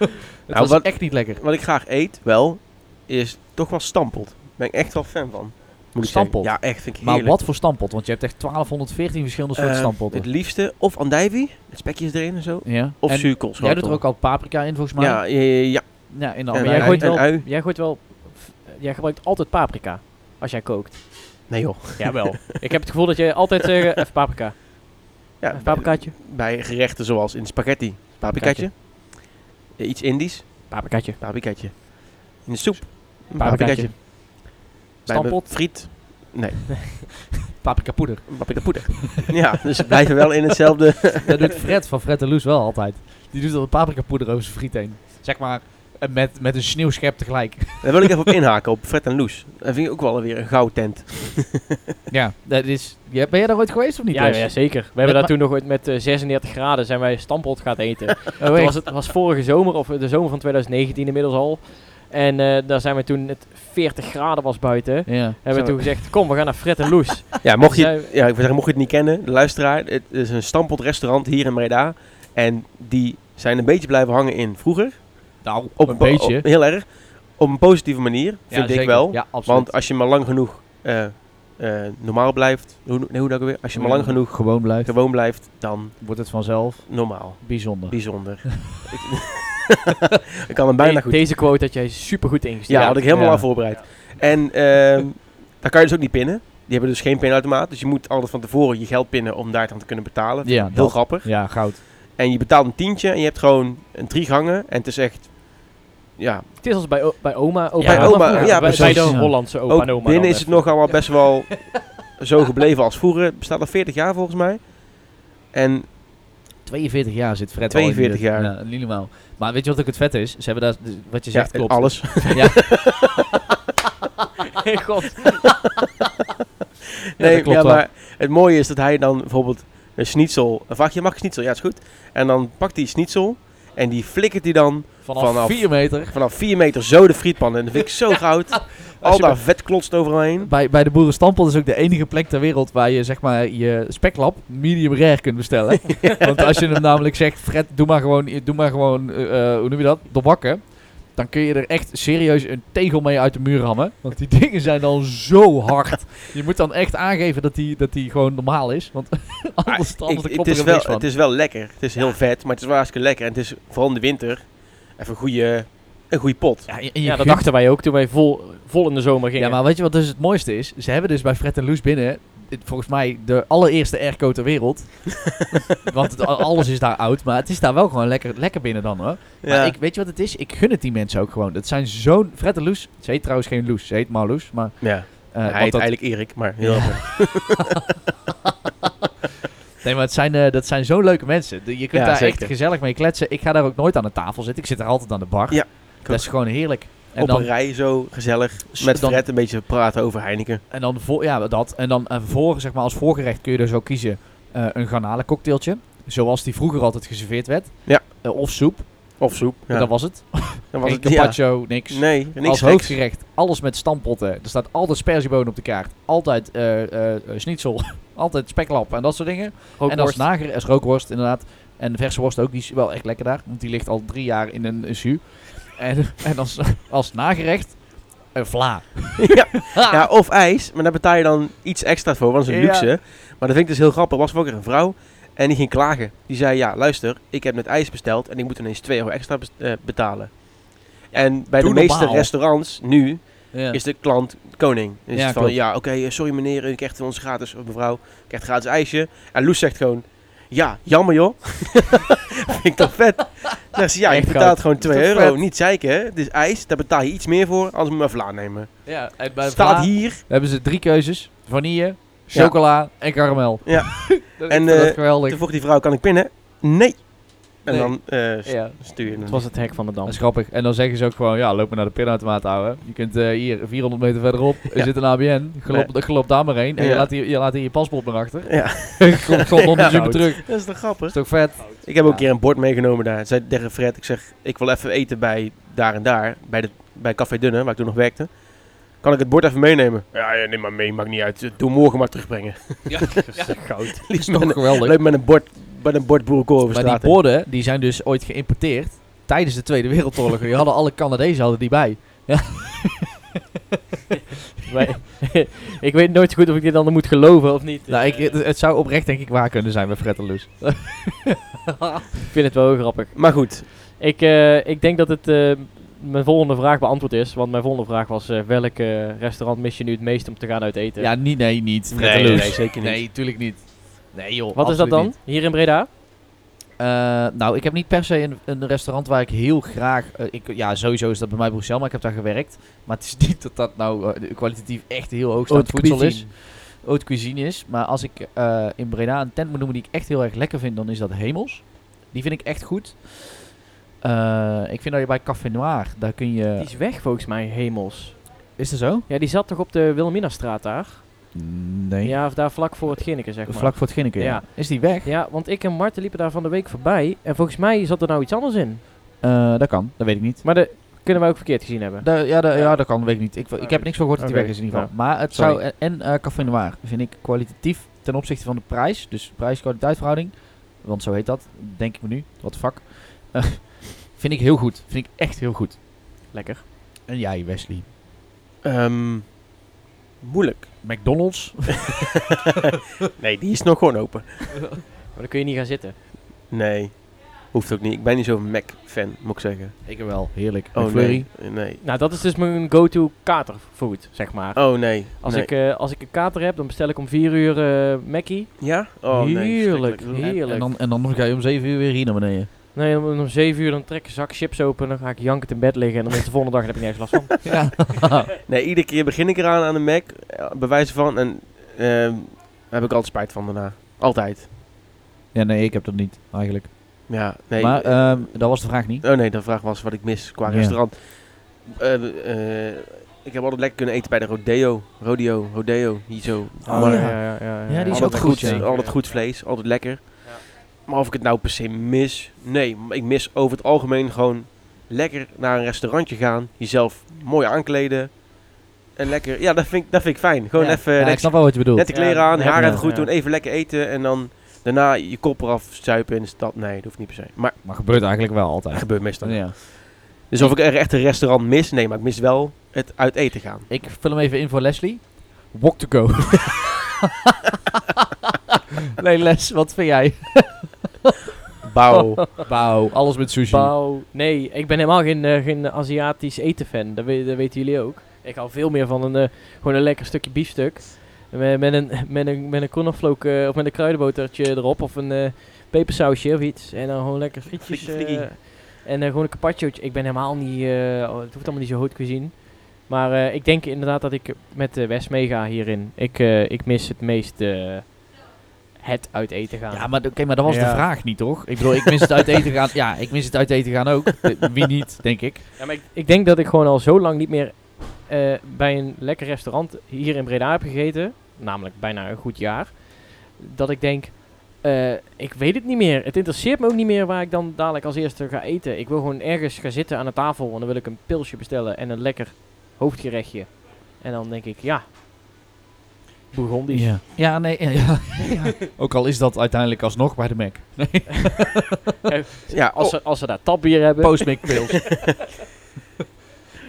was
Nou, wat-
echt niet lekker.
Wat ik graag eet, wel, is toch wel stampeld. Ben ik echt wel fan van. Moet ik
Stampeld?
zeggen. Ja, echt. Vind ik
Maar
heerlijk.
wat voor stampot? Want je hebt echt 1214 verschillende soorten
Ehm,
stampotten.
Het liefste of andijvie, met spekjes erin en zo.
Ja.
Of
en
zuurkoolschotel.
jij doet er ook al paprika in volgens mij.
Ja, ja, ja, ja.
Ja, in de
En
andere.
maar jij
ui-
gooit
en
wel-
ui.
Jij gooit wel. f- Jij gebruikt altijd paprika als jij kookt.
Nee joh.
Jawel. [LAUGHS] ik heb het gevoel dat jij altijd zegt even paprika.
Ja,
Even paprikaatje.
bij gerechten zoals in spaghetti, paprikaatje. Eh, Iets Indisch,
Paprikaatje.
paprikaatje. In de soep, een
Paprikaatje.
paprikaatje. Bij mijn
Stampot.
friet,
paprika poeder. [LAUGHS]
een paprikapoeder. [LAUGHS] ja, dus we blijven wel in hetzelfde.
Dat doet Fred van Fred en Loes wel altijd. Die doet er paprika poeder over zijn friet heen. Zeg maar, En met, met een sneeuwschep tegelijk. [LAUGHS]
Daar wil ik even op inhaken, op Fred en Loes. Dat vind ik ook wel weer een gouden tent.
ja, dat is, ja, ben jij daar ooit geweest of niet?
Ja,
Wes?
ja, zeker. We hebben daar
maar-
toen nog ooit met eh, 36 graden zijn wij stampot gaan
[LAUGHS]
eten.
Oh,
Het
echt?
was, het was vorige zomer, of eh, de zomer van 2019 inmiddels al. En eh, daar zijn we toen, het 40 graden was buiten,
Ja.
hebben
Zo.
we toen gezegd, kom we gaan naar Fred en Loes.
Ja, mocht je, ja,
Zijn-
ik wil zeggen, mocht je het niet kennen, de luisteraar. Het is een stampot restaurant hier in Breda. En die zijn een beetje blijven hangen in vroeger.
Nou,
Op
een
po-
beetje.
op- heel erg. Op een positieve manier,
Ja,
vind ik
zeker.
wel.
Ja, absoluut.
Want als je maar lang genoeg eh, eh, normaal blijft, hoe, nee, hoe dat ook weer? Als je maar
Mm.
lang genoeg
gewoon blijft,
gewoon blijft, dan
wordt het vanzelf
normaal.
bijzonder.
Bijzonder. [LAUGHS] ik, ik kan hem [LAUGHS] bijna
De-
goed.
Deze quote had jij super goed
Ja,
ingesteld.
had ik helemaal
Ja.
aan voorbereid. En ehm daar kan je dus ook niet pinnen. Die hebben dus geen pinautomaat. Dus je moet altijd van tevoren je geld pinnen om daar het aan te kunnen betalen.
Ja,
Heel
dat-
grappig.
ja, goud.
En je betaalt een tientje en je hebt gewoon een drie gangen. En het is echt, ja,
Het is als bij, o- bij oma, opa,
Bij
en
oma,
vroeger.
ja,
bij, bij
precies.
de
Ja.
Hollandse opa
ook
en oma.
binnen
dan
is het
even.
nog allemaal best wel zo gebleven als vroeger. Het bestaat al 40 jaar volgens mij. En
42 jaar zit Fred
42
al in de-
jaar.
Ja, niet normaal. Maar weet je wat ook het vet is? Ze hebben daar, dus wat je
ja,
zegt klopt.
alles.
[LAUGHS] God,
Nee,
dat klopt
ja,
wel.
maar het mooie is dat hij dan bijvoorbeeld een schnitzel... Een vraag, je mag schnitzel, ja is goed. En dan pakt hij schnitzel en die flikkert hij dan
Vanaf,
vanaf-
4 meter
vanaf 4 meter zo de frietpan. En dat vind ik
[LAUGHS]
zo goud. Al
je
dat vet klotst overheen.
Bij, bij de boerenstampel is ook de enige plek ter wereld waar je zeg maar je speklap medium rare kunt
[LAUGHS]
bestellen. Want als je hem namelijk zegt, Fred, doe maar gewoon, doe maar gewoon eh, eh, hoe noem je dat, doorbakken. Dan kun je er echt serieus een tegel mee uit de muur rammen. Want die dingen zijn dan zo hard. Je moet dan echt aangeven dat die, dat die gewoon normaal is. Want [LAUGHS]
Ah,
anders,
Ik-
anders
het,
komt er
is
niks
wel,
van.
het is wel lekker. Het is heel vet, maar het is wel hartstikke lekker. En het is vooral in de winter even een goede, een goede pot.
ja, en je
ja, dat
gunt-
dachten wij ook toen wij vol, vol in de zomer gingen.
Ja, maar weet je wat dus het mooiste is? Ze hebben dus bij Fred en Loes binnen, dit, volgens mij, de allereerste airco ter
[LAUGHS]
wereld. Want het- alles is daar oud, maar het is daar wel gewoon lekker, lekker binnen dan hoor.
Ja.
Maar ik, weet je wat het is? Ik gun het die mensen ook gewoon. Het zijn zo'n... Fred en Loes, ze heet trouwens geen Loes, ze heet Marloes, maar...
ja.
eh,
hij
want
heet
dat-
eigenlijk Erik, maar [LAUGHS] heel erg.
Nee, maar het zijn, eh, dat zijn zo'n leuke mensen. De- Je kunt
Ja,
daar
zeker.
echt gezellig mee kletsen. Ik ga daar ook nooit aan de tafel zitten. Ik zit daar altijd aan de bar.
Ja, ik
dat is gewoon heerlijk. En
op
dan,
een rij zo gezellig
S-
met
dan-
Fred een beetje praten over Heineken.
en dan voor, ja, dat. En dan eh, voor, zeg maar, als voorgerecht kun je dus ook kiezen eh, een garnalencocktailtje. Zoals die vroeger altijd geserveerd werd.
Ja.
Eh, of soep.
Of soep.
En
Ja.
dat was het.
Dan
Geen
ja.
carpaccio, niks.
Nee, niks
als
geks.
hoofdgerecht, alles met stampotten. Er staat altijd sperziebonen op de kaart. Altijd eh eh, eh, schnitzel. [LAUGHS] altijd speklap en dat soort dingen. En als
Rookworst.
nager, als rookworst inderdaad. En verse worst ook, die is wel echt lekker daar. Want die ligt al drie jaar in een, een jus. En, [LAUGHS] en als, als nagerecht, een vla. [LAUGHS]
ja. ja, of ijs, maar daar betaal je dan iets extra voor, want dat is een
Ah. Ja.
luxe. Maar dat vind ik dus heel grappig. Was er ook weer een vrouw en die ging klagen. Die zei, ja luister, ik heb net ijs besteld en ik moet ineens 2 euro extra bes- eh, betalen. En bij de
doe
meeste
normaal.
restaurants nu
Ja.
is de klant koning. Dus
Ja,
van,
klopt.
ja oké, eh, sorry meneer, u krijgt van ons gratis, of mevrouw, u krijgt gratis ijsje. En Loes zegt gewoon, ja, jammer joh. [LAUGHS] vind ik toch vet. Zegt ze, ja, je
Echt
betaalt
goud.
gewoon 2
toch
euro.
vet?
Niet zeiken, hè. Het is ijs, daar betaal je iets meer voor, anders moet je maar vla nemen.
Ja, en bij
Staat
vla
hier.
hebben ze drie keuzes. Vanille, chocola en karamel.
Ja.
[LAUGHS]
En,
dat, en, dat
eh,
geweldig.
Toen vroeg die vrouw, kan ik pinnen? Nee. En
Nee.
dan eh, st-
Ja.
stuur je
Het
hem.
was het hek van de dam.
Dat is grappig. En dan zeggen ze ook gewoon, ja, loop maar naar de pinautomaat houden. Je kunt eh, hier 400 meter verderop, er
Ja.
zit een ABN, gelop, gelop daar maar heen. En
Ja.
je, laat hier, je laat hier je paspoort maar
[LAUGHS]
achter.
Ja,
Komt kom onder
Ja.
super terug.
dat is toch grappig?
is toch vet?
Ik heb ook
Ja.
een keer een bord meegenomen daar. Zei tegen Fred, ik zeg, ik wil even eten bij daar en daar. Bij, de, bij Café Dunne, waar ik toen nog werkte. Kan ik het bord even meenemen? Ja, ja, neem maar mee, maakt niet uit. Doe morgen maar terugbrengen.
goud.
Liep
is
met,
toch
een,
geweldig.
liep met een bord, met een bord boerenkool over
Maar
straat.
die
heen.
borden, die zijn dus ooit geïmporteerd tijdens de Tweede
[LAUGHS]
Wereldoorlog. Die hadden alle Canadezen hadden die bij.
[LAUGHS] Wij- ik weet nooit zo goed of ik dit dan moet geloven of niet.
Nou, ik,
Eh,
het, het zou oprecht denk ik waar kunnen zijn bij Fretteloes.
ik vind het wel heel grappig.
Maar goed,
Ik, eh, ik denk dat het eh, mijn volgende vraag beantwoord is. Want mijn volgende vraag was: eh, welk eh, restaurant mis je nu het meest om te gaan uit eten?
Ja, niet, eh, nee, niet.
Nee,
Fretteloes.
nee, nee, zeker niet.
Nee, tuurlijk niet. Nee joh,
Wat is dat
absoluut
dan?
niet.
Hier in Breda?
Eh, nou, ik heb niet per se een, een restaurant waar ik heel graag... eh, ik, ja, sowieso is dat bij mij Bruxelles, maar ik heb daar gewerkt. Maar het is [LAUGHS] niet dat dat nou eh, kwalitatief echt heel hoogstaand voedsel is. haute cuisine is. Maar als ik eh, in Breda een tent moet noemen die ik echt heel erg lekker vind, dan is dat Hemels. Die vind ik echt goed. Eh, Eh, ik vind dat je bij Café Noir, daar kun je...
Die is weg volgens mij, hemels.
Is dat zo?
Ja, die zat toch op de Wilhelminastraat daar?
Nee.
Ja, of daar vlak voor het Ginneke, zeg maar.
Vlak voor het Ginneke.
Ja.
Is die weg?
Ja, want ik en Marten liepen daar van de week voorbij. En volgens mij zat er nou iets anders in.
Eh, dat kan, dat weet ik niet.
Maar dat kunnen wij ook verkeerd gezien hebben.
Da- ja, da- ja, dat kan, dat weet ik niet. Ik, ik heb niks van gehoord dat die
Oké.
weg is in ieder geval.
Ja.
Maar het
Sorry.
zou... En, en eh, Café Noir vind ik kwalitatief ten opzichte van de prijs. Dus prijs-kwaliteitverhouding. Want zo heet dat, denk ik me nu. What the fuck. Eh, [LAUGHS] vind ik heel goed. Vind ik echt heel goed.
Lekker.
En jij, Wesley?
Ehm, moeilijk.
McDonald's? [LAUGHS]
Nee, die is nog gewoon open.
Maar dan kun je niet gaan zitten.
Nee, hoeft ook niet. Ik ben niet zo'n Mac-fan, moet ik zeggen.
Ik wel. Heerlijk.
Oh,
McFlurry?
nee. Nee.
Nou, dat is dus mijn go-to katerfood, zeg maar.
Oh, nee.
Als,
Nee.
ik, eh, als ik een kater heb, dan bestel ik om 4 uur eh Mackie.
Ja? Oh, nee.
heerlijk,
verschrikkelijk.
En-
heerlijk.
En, dan, en dan ga je om 7 uur weer hier naar beneden.
nee, om, om 7 uur dan trek ik een zak chips open. Dan ga ik jankend in bed liggen. En dan is de volgende dag dan heb ik nergens
[LAUGHS]
last van.
Ja.
Nee, iedere keer begin ik eraan aan de Mac, eh, bij wijze van, en ehm, daar heb ik altijd spijt van daarna. Altijd.
ja, nee, ik heb dat niet, eigenlijk.
Ja, nee.
maar ehm, dat was de vraag niet.
oh nee, de vraag was wat ik mis qua
Ja.
restaurant. Eh, eh, ik heb altijd lekker kunnen eten bij de Rodeo. Rodeo, Rodeo, hier zo.
Oh,
Maar-
ja.
ja, ja,
Ja, die is
altijd
ook goed, ja.
Goed, altijd goed vlees, altijd lekker. Maar of ik het nou per se mis? Nee, maar ik mis over het algemeen gewoon lekker naar een restaurantje gaan. Jezelf mooi aankleden. En lekker, ja, dat vind ik, dat vind ik fijn. Gewoon
Ja.
even
Ja, ik
netjes-
snap wel wat je bedoelt.
net de
Ja,
kleren aan,
ja,
haar
ja,
even goed
ja.
doen, even lekker eten. En dan daarna je kop eraf zuipen in de stad. Nee, dat hoeft niet per se. Maar
Maar gebeurt eigenlijk wel
dat
altijd.
gebeurt meestal. niet.
Ja.
Dus of ik er echt een restaurant mis? Nee, maar ik mis wel het uit eten gaan.
Ik vul hem even in voor Leslie. Walk to go. [LAUGHS] nee, Les, wat vind jij? [LAUGHS]
Bouw.
Wauw, alles met sushi.
Pauw. Nee, ik ben helemaal geen, eh, geen Aziatisch eten fan. Dat, we- dat weten jullie ook. Ik hou veel meer van een, eh, gewoon een lekker stukje biefstuk. Met, met een, met een, met een cornflake eh, of met een kruidenbotertje erop. Of een eh, pepersausje of iets. En dan gewoon lekker frietjes.
Flikkie, flikkie.
eh, en eh, gewoon een carpacciootje. Ik ben helemaal niet... eh, oh, het hoeft allemaal niet zo haute cuisine. Maar eh, ik denk inderdaad dat ik met eh, Wes meega hierin. Ik, eh, ik mis het meest eh, het uit eten gaan.
Ja, maar, d- oké, maar dat was
Ja.
de vraag niet, toch? Ik bedoel, ik mis het uit eten gaan. Ja, ik mis het uit eten gaan ook. Eh, Wie niet, denk ik.
Ja, maar ik, ik denk dat ik gewoon al zo lang niet meer eh, bij een lekker restaurant hier in Breda heb gegeten. Namelijk bijna een goed jaar. Dat ik denk, eh, ik weet het niet meer. Het interesseert me ook niet meer waar ik dan dadelijk als eerste ga eten. Ik wil gewoon ergens gaan zitten aan de tafel. En dan wil ik een pilsje bestellen en een lekker hoofdgerechtje. En dan denk ik, ja, Bourgondisch.
Ja, ja nee. Ja, ja. Ook al is dat uiteindelijk alsnog bij de Mac.
Ja,
Als,
oh,
ze, als ze daar tapbier hebben.
Post-Mac pils.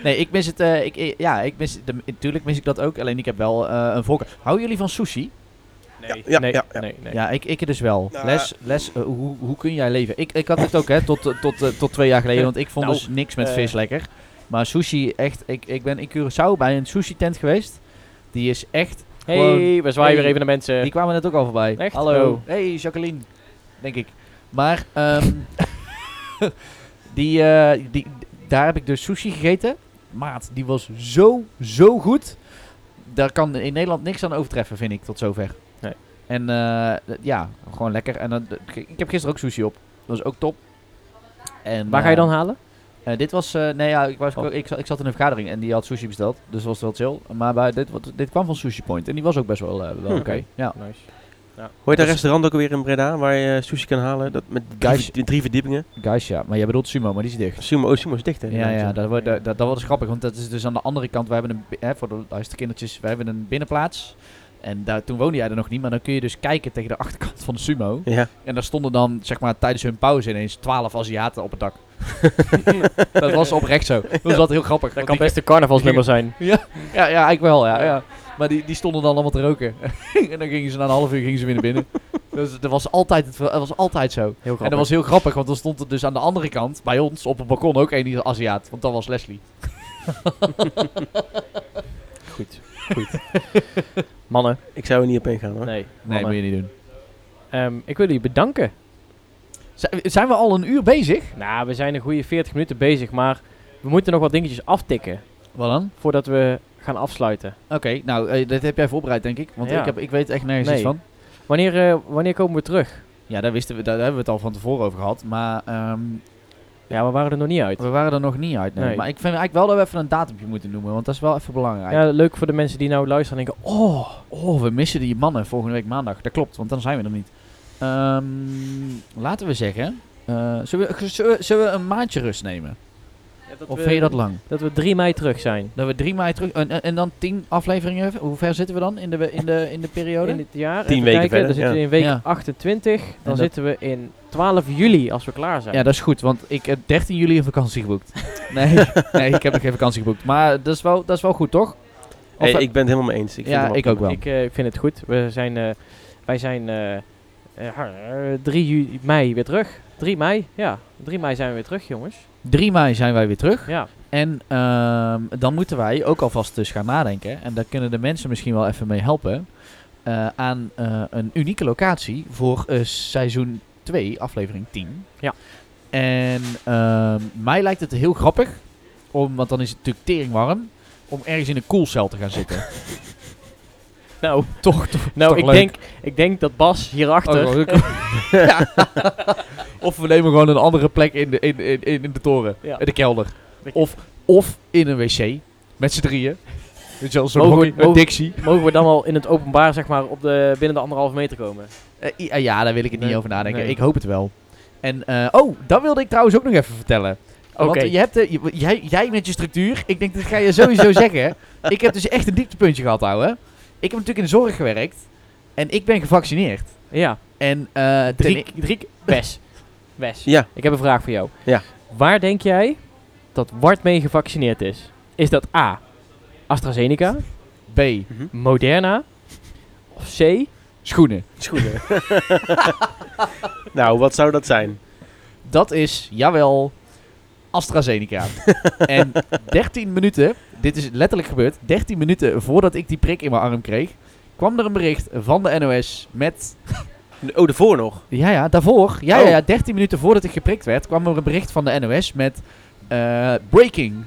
nee, ik mis het. eh, ik, eh, ja, ik mis, de, natuurlijk mis ik dat ook. Alleen ik heb wel eh, een volk. Houden jullie van sushi? [LAUGHS]
Nee,
Ja, ja,
nee,
ja, ja.
nee, nee.
Ja, ik, ik dus wel.
Nou,
les, les eh, hoe, hoe kun jij leven? Ik, ik had het ook hè, tot, eh, tot, eh, tot twee jaar
[LAUGHS]
geleden, want ik vond
Nou,
dus niks met
eh.
vis lekker. Maar sushi, echt, ik, ik ben in Curaçao bij een sushi tent geweest. Die is echt,
hey, we zwaaien
Hey.
weer even naar mensen.
die kwamen net ook al voorbij.
Eh, Echt?
Hallo.
Oh.
Hey Jacqueline, denk ik. Maar ehm, [LAUGHS] die, eh, die, daar heb ik dus sushi gegeten. Maat, die was zo, zo goed. Daar kan in Nederland niks aan overtreffen, vind ik, tot zover.
Nee.
En eh, d- ja, gewoon lekker. En dan, d- ik heb gisteren ook sushi op. Dat was ook top. En,
Waar ga je
eh,
dan halen?
eh, dit was, eh, nee ja, ik, was,
Oh.
ik, zat- ik zat in een vergadering en die had sushi besteld. Dus was het wel chill. Maar bij, dit, wat- dit kwam van Sushi Point en die was ook best wel, eh, wel oké.
Hm.
Ja.
Nice.
hoe heet dat
is-
restaurant ook alweer in Breda waar je sushi kan halen? Dat met drie,
Guys.
verd- drie verdiepingen.
Guys, ja. Maar jij bedoelt Sumo, maar die is dicht.
Sumo, oh, Sumo is dicht, hè?
Ja, ja, dat, wordt, dat, dat, dat wordt grappig, want dat is dus aan de andere kant. Wij hebben een, bi- hè, voor de luisterkindertjes, wij hebben een binnenplaats. En daar, toen woonde jij er nog niet, maar dan kun je dus kijken tegen de achterkant van de Sumo.
Ja.
En daar stonden dan, zeg maar, tijdens hun pauze ineens 12 Aziaten op het dak. dat was oprecht zo. Dat was dat heel grappig.
Dat
want
kan
die-
best een carnavalsnummer zijn.
Ja, ja, ik wel, ja. ja. Maar die, die stonden dan allemaal te roken. [LAUGHS] en dan gingen ze na een half uur gingen ze weer naar binnen. dus dat was altijd, het, dat was altijd zo.
Heel
En dat was heel grappig, want dan stond er dus aan de andere kant, bij ons, op het balkon ook één die Aziat. Want dat was Leslie.
Goed. Goed. [LAUGHS] Mannen.
Ik zou er niet op ingaan, hoor.
Nee.
Nee,
mannen.
moet je niet doen.
Ehm, ik wil jullie bedanken.
zijn we al een uur bezig?
Nou, we zijn een goede 40 minuten bezig, maar we moeten nog wat dingetjes aftikken
Wat dan?
voordat we gaan afsluiten.
Oké, nou, eh, dit heb jij voorbereid, denk ik. Want
Ja.
ik, heb, ik weet echt nergens
Nee.
iets van.
Wanneer, eh, wanneer komen we terug?
Ja, daar, wisten we, daar hebben we het al van tevoren over gehad. Maar ehm,
Ja, we waren er nog niet uit.
We waren er nog niet uit. Nee.
Nee.
Maar ik vind eigenlijk wel dat we even een datumje moeten noemen, want dat is wel even belangrijk.
Ja, leuk voor de mensen die nou luisteren en denken, oh,
Oh, we missen die mannen volgende week maandag. Dat klopt, want dan zijn we er niet. Ehm, laten we zeggen. eh, zullen, we, zullen, we, zullen we een maandje rust nemen?
dat,
Of
we,
vind je dat lang?
dat we 3 mei terug zijn.
Dat we drie maanden terug. En, en- en dan tien afleveringen. even? Hoe ver zitten we dan in de, in de, in de periode?
In dit jaar.
Tien
even
weken
kijken,
verder,
Dan zitten we
ja.
in week
Ja.
28. Dan
dat-
zitten we in 12 juli als we klaar zijn.
ja, dat is goed, want ik heb 13 juli een vakantie
[LAUGHS]
geboekt. nee, nee, ik heb nog geen vakantie geboekt. Maar dat is wel, dat is wel goed, toch? Of
Hey,
we-
ik ben het helemaal mee eens. eh, Ik vind
ja,
hem
ik ook wel.
Ik eh, ik vind het goed. We zijn, eh, wij zijn eh, eh, eh, 3 ju- mei weer terug. 3 mei, ja. 3 mei zijn we weer terug, jongens.
3 mei zijn wij weer terug.
Ja,
En ehm, dan moeten wij ook alvast dus gaan nadenken. En daar kunnen de mensen misschien wel even mee helpen. eh, aan eh, een unieke locatie voor eh, seizoen 2, aflevering 10.
Ja.
En ehm, mij lijkt het heel grappig. Om, want dan is het natuurlijk tering warm. Om ergens in een koelcel te gaan zitten.
[LAUGHS] [LAUGHS] nou,
toch, toch.
nou
toch
ik,
leuk.
denk, ik denk dat Bas hierachter...
Oh, [LAUGHS] ja. of we nemen gewoon een andere plek in de, in, in, in de toren.
Ja.
In de kelder. Of, of in een wc. Met z'n drieën. Weet je wel, zo'n
Mogen we-
hockey- een
mogen-
Dixie.
Mogen we dan wel in het openbaar, zeg maar, op de, binnen de anderhalve meter komen?
Eh, i- eh, ja, daar wil ik het niet
Nee,
over nadenken.
nee.
Ik hoop het wel. En, eh, oh, dat wilde ik trouwens ook nog even vertellen. Want
Oké.
eh, je hebt, eh, je- jij, jij met je structuur, ik denk dat ga je [LAUGHS] sowieso zeggen. Ik heb dus echt een dieptepuntje gehad, ouwe. Ik heb natuurlijk in de zorg gewerkt. En ik ben gevaccineerd.
Ja,
En eh ten-
drie, drie... Wes. Wes,
Ja.
ik heb een vraag voor jou.
Ja.
Waar denk jij dat Wart mee gevaccineerd is? Is dat A, AstraZeneca,
B,
Moderna of C,
schoenen.
Schoenen. nou, wat zou dat zijn?
Dat is, jawel, AstraZeneca. en 13 minuten, dit is letterlijk gebeurd, 13 minuten voordat ik die prik in mijn arm kreeg, kwam er een bericht van de NOS met
Oh, daarvoor nog.
Ja, ja, daarvoor. Ja, ja,
Oh.
ja, 13 minuten voordat ik geprikt werd, kwam er een bericht van de NOS met eh, breaking. [LAUGHS]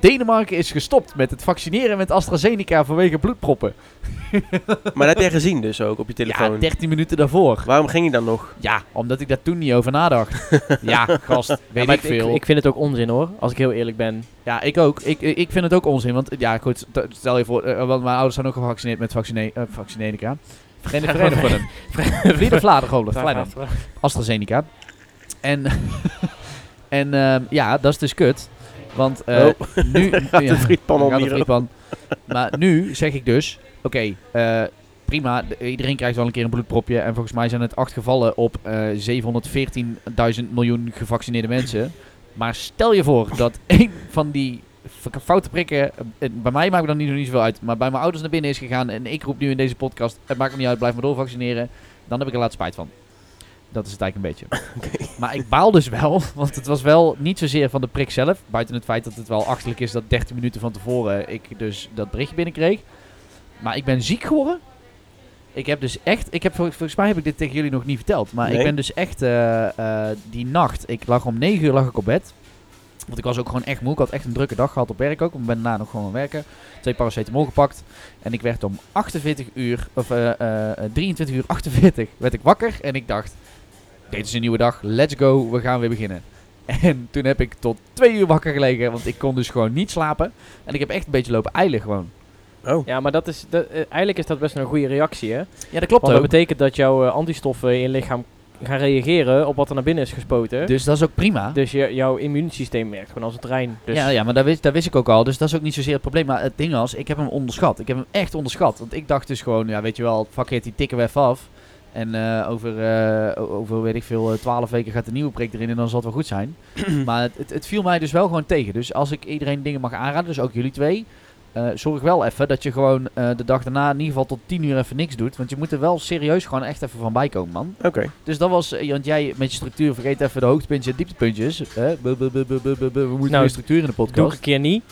Denemarken is gestopt met het vaccineren met AstraZeneca vanwege bloedproppen.
Maar dat heb jij gezien dus ook op je
Ja,
telefoon.
13 minuten daarvoor.
Waarom ging je dan nog?
Ja, omdat ik daar toen niet over nadacht. ja, gast, weet
maar
ik veel.
Ik, vind het ook onzin hoor, als ik heel eerlijk ben.
ja, ik ook. Ik, ik vind het ook onzin, want ja, goed, t- stel je voor, eh, want mijn ouders zijn ook gevaccineerd met vaccine eh, vaccinenica. Vreemde vereniging voor hem. Vlieder Vladegolen, AstraZeneca. En, [LAUGHS] en ehm, ja, dat is dus kut. Want eh, nu...
Gaat
ja,
de frietpan
dan
om
gaat de
hier ook.
frietpan. Maar nu zeg ik dus, oké, eh, prima. d- Iedereen krijgt wel een keer een bloedpropje. En volgens mij zijn het acht gevallen op eh 714.000 miljoen gevaccineerde mensen. Maar stel je voor dat [LAUGHS] één van die f- foute prikken... eh, Bij mij maakt het dan niet, zo niet zoveel uit. Maar bij mijn ouders naar binnen is gegaan. En ik roep nu in deze podcast, het maakt me niet uit, blijf maar doorvaccineren. Dan heb ik er laat spijt van. Dat is het eigenlijk een beetje. Maar ik baal dus wel, want het was wel niet zozeer van de prik zelf. Buiten het feit dat het wel achterlijk is dat 13 minuten van tevoren ik dus dat berichtje binnenkreeg. Maar ik ben ziek geworden. Ik heb dus echt, ik heb, vol- volgens mij heb ik dit tegen jullie nog niet verteld. Maar ik
Nee.
ben dus echt eh, eh, die nacht, ik lag om 9 uur lag ik op bed. Want ik was ook gewoon echt moe. Ik had echt een drukke dag gehad op werk ook. Ik ben daarna nog gewoon aan het werken. Twee paracetamol gepakt. En ik werd om 48 uur, of eh, eh, 23 uur 48, werd ik wakker. En ik dacht, dit is een nieuwe dag. Let's go, we gaan weer beginnen. [LAUGHS] En toen heb ik tot twee uur wakker gelegen, want ik kon dus gewoon niet slapen. En ik heb echt een beetje lopen eilen gewoon.
Oh.
[LAUGHS] Ja, maar dat is, dat, eh, eigenlijk is dat best een goede reactie hè.
Ja, dat klopt
Want dat
ook.
betekent dat jouw eh, antistoffen in je lichaam gaan reageren op wat er naar binnen is gespoten. Dus,
Dus dat is ook prima.
je, jouw immuunsysteem werkt gewoon als een trein. Dus
Ja, ja, maar dat wist, dat wist ik ook al. Dus dat is ook niet zozeer het probleem. Maar het ding was, ik heb hem onderschat. Ik heb hem echt onderschat. Want ik dacht dus gewoon, ja, weet je wel, fuck it, die tikken we even af. En eh, over, eh, o- over, weet ik veel, twaalf weken gaat de nieuwe prik erin en dan zal het wel goed zijn. maar het, het, het viel mij dus wel gewoon tegen. Dus als ik iedereen dingen mag aanraden, dus ook jullie twee... eh, zorg wel even dat je gewoon eh, de dag daarna in ieder geval tot tien uur even niks doet. Want je moet er wel serieus gewoon echt even van bijkomen, man.
Oké.
Dus dat was, eh, want jij met je structuur vergeet even de hoogtepuntjes en dieptepuntjes. Hè? Bu- bu- bu- bu- bu- bu- bu- We moeten
Nou,
weer structuur in de podcast.
doe ik een keer niet,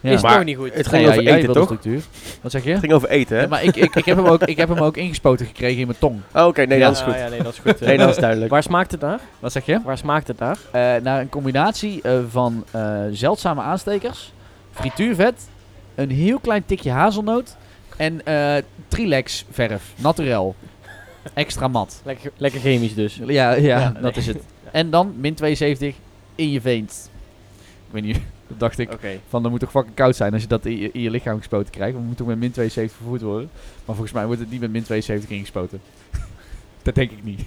Ja.
is
Maar-
toch niet
Het
goed.
Nee,
ging
ja,
over
jij
eten,
wilde
toch?
structuur. Wat zeg je?
Het ging over eten, hè?
Nee, maar ik, ik, ik, heb hem ook, ik heb hem ook ingespoten gekregen in mijn tong.
Oh, Oké, nee,
Ja.
dat is
Ah,
goed.
ja, nee, dat is goed. eh.
Nee, dat is duidelijk.
Waar smaakt het naar?
Wat zeg je?
Waar smaakt het naar?
Eh, naar een combinatie eh, van eh, zeldzame aanstekers, frituurvet, een heel klein tikje hazelnoot en eh Trilex verf, naturel. Extra mat.
Lekker, lekker chemisch dus.
Ja, ja,
Ja,
dat
nee.
is het. En dan min 72 in je veens. Ik weet niet, [LAUGHS] dat dacht ik.
Oké.
Van, dat moet toch fucking koud zijn als je dat in je, in je lichaam gespoten krijgt. Want het moet toch met min 72 vervoerd worden. Maar volgens mij wordt het niet met min 72 ingespoten. [LAUGHS] dat denk ik niet.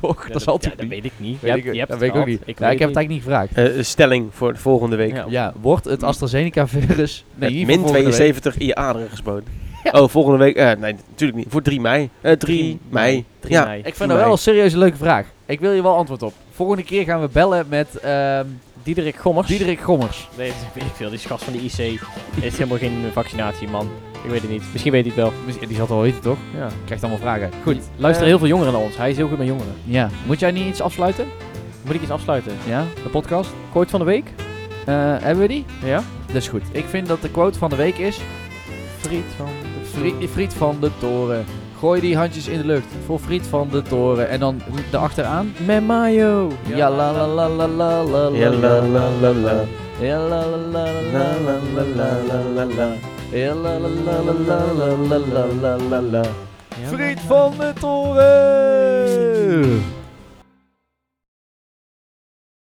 toch?
Ja,
dat zal
ja,
toch
dat
niet?
weet ik niet. Je
Weet
hebt,
ik-
je hebt het
dat weet ik ook
gehad.
niet. Ja, Ik,
weet het
heb het eigenlijk niet gevraagd.
Eh, stelling voor de volgende week.
Ja.
Ja, wordt het
[LAUGHS]
AstraZeneca-virus... Nee,
Met
hier
min
voor volgende week.
72 in je aderen gespoten. Oh, volgende week. eh, nee, natuurlijk niet. Voor 3 mei. Eh 3, mei.
3
ja.
mei.
Ik vind dat wel een serieuze leuke vraag. Ik wil hier wel antwoord op. Volgende keer gaan we bellen met ehm,
Diederik Gommers.
Diederik Gommers.
Nee, dat weet ik veel. Die is gast van de IC. Er is helemaal geen eh, vaccinatie, man. Ik weet het niet. Misschien weet hij het wel.
Misschien- Die zal het wel weten, toch?
Ja.
Krijgt allemaal vragen. Goed.
Luister
Eh,
heel veel jongeren naar ons. Hij is heel goed met jongeren.
Ja. Moet jij niet iets afsluiten?
Moet ik iets afsluiten?
Ja, de podcast.
Quote van de week?
Eh, hebben we die?
Ja?
Dat is goed. Ik vind dat de quote van de week is...
Friet van de
Fri- Friet van de Toren. Gooi die handjes in de lucht voor Friet van de Toren. En dan erachteraan.
Met mayo.
Ja la la la la la la la la la la la. Ja la la la la la la la la la la. Ja la la la la la la la la la la.
Ja,
Friet van de Toren!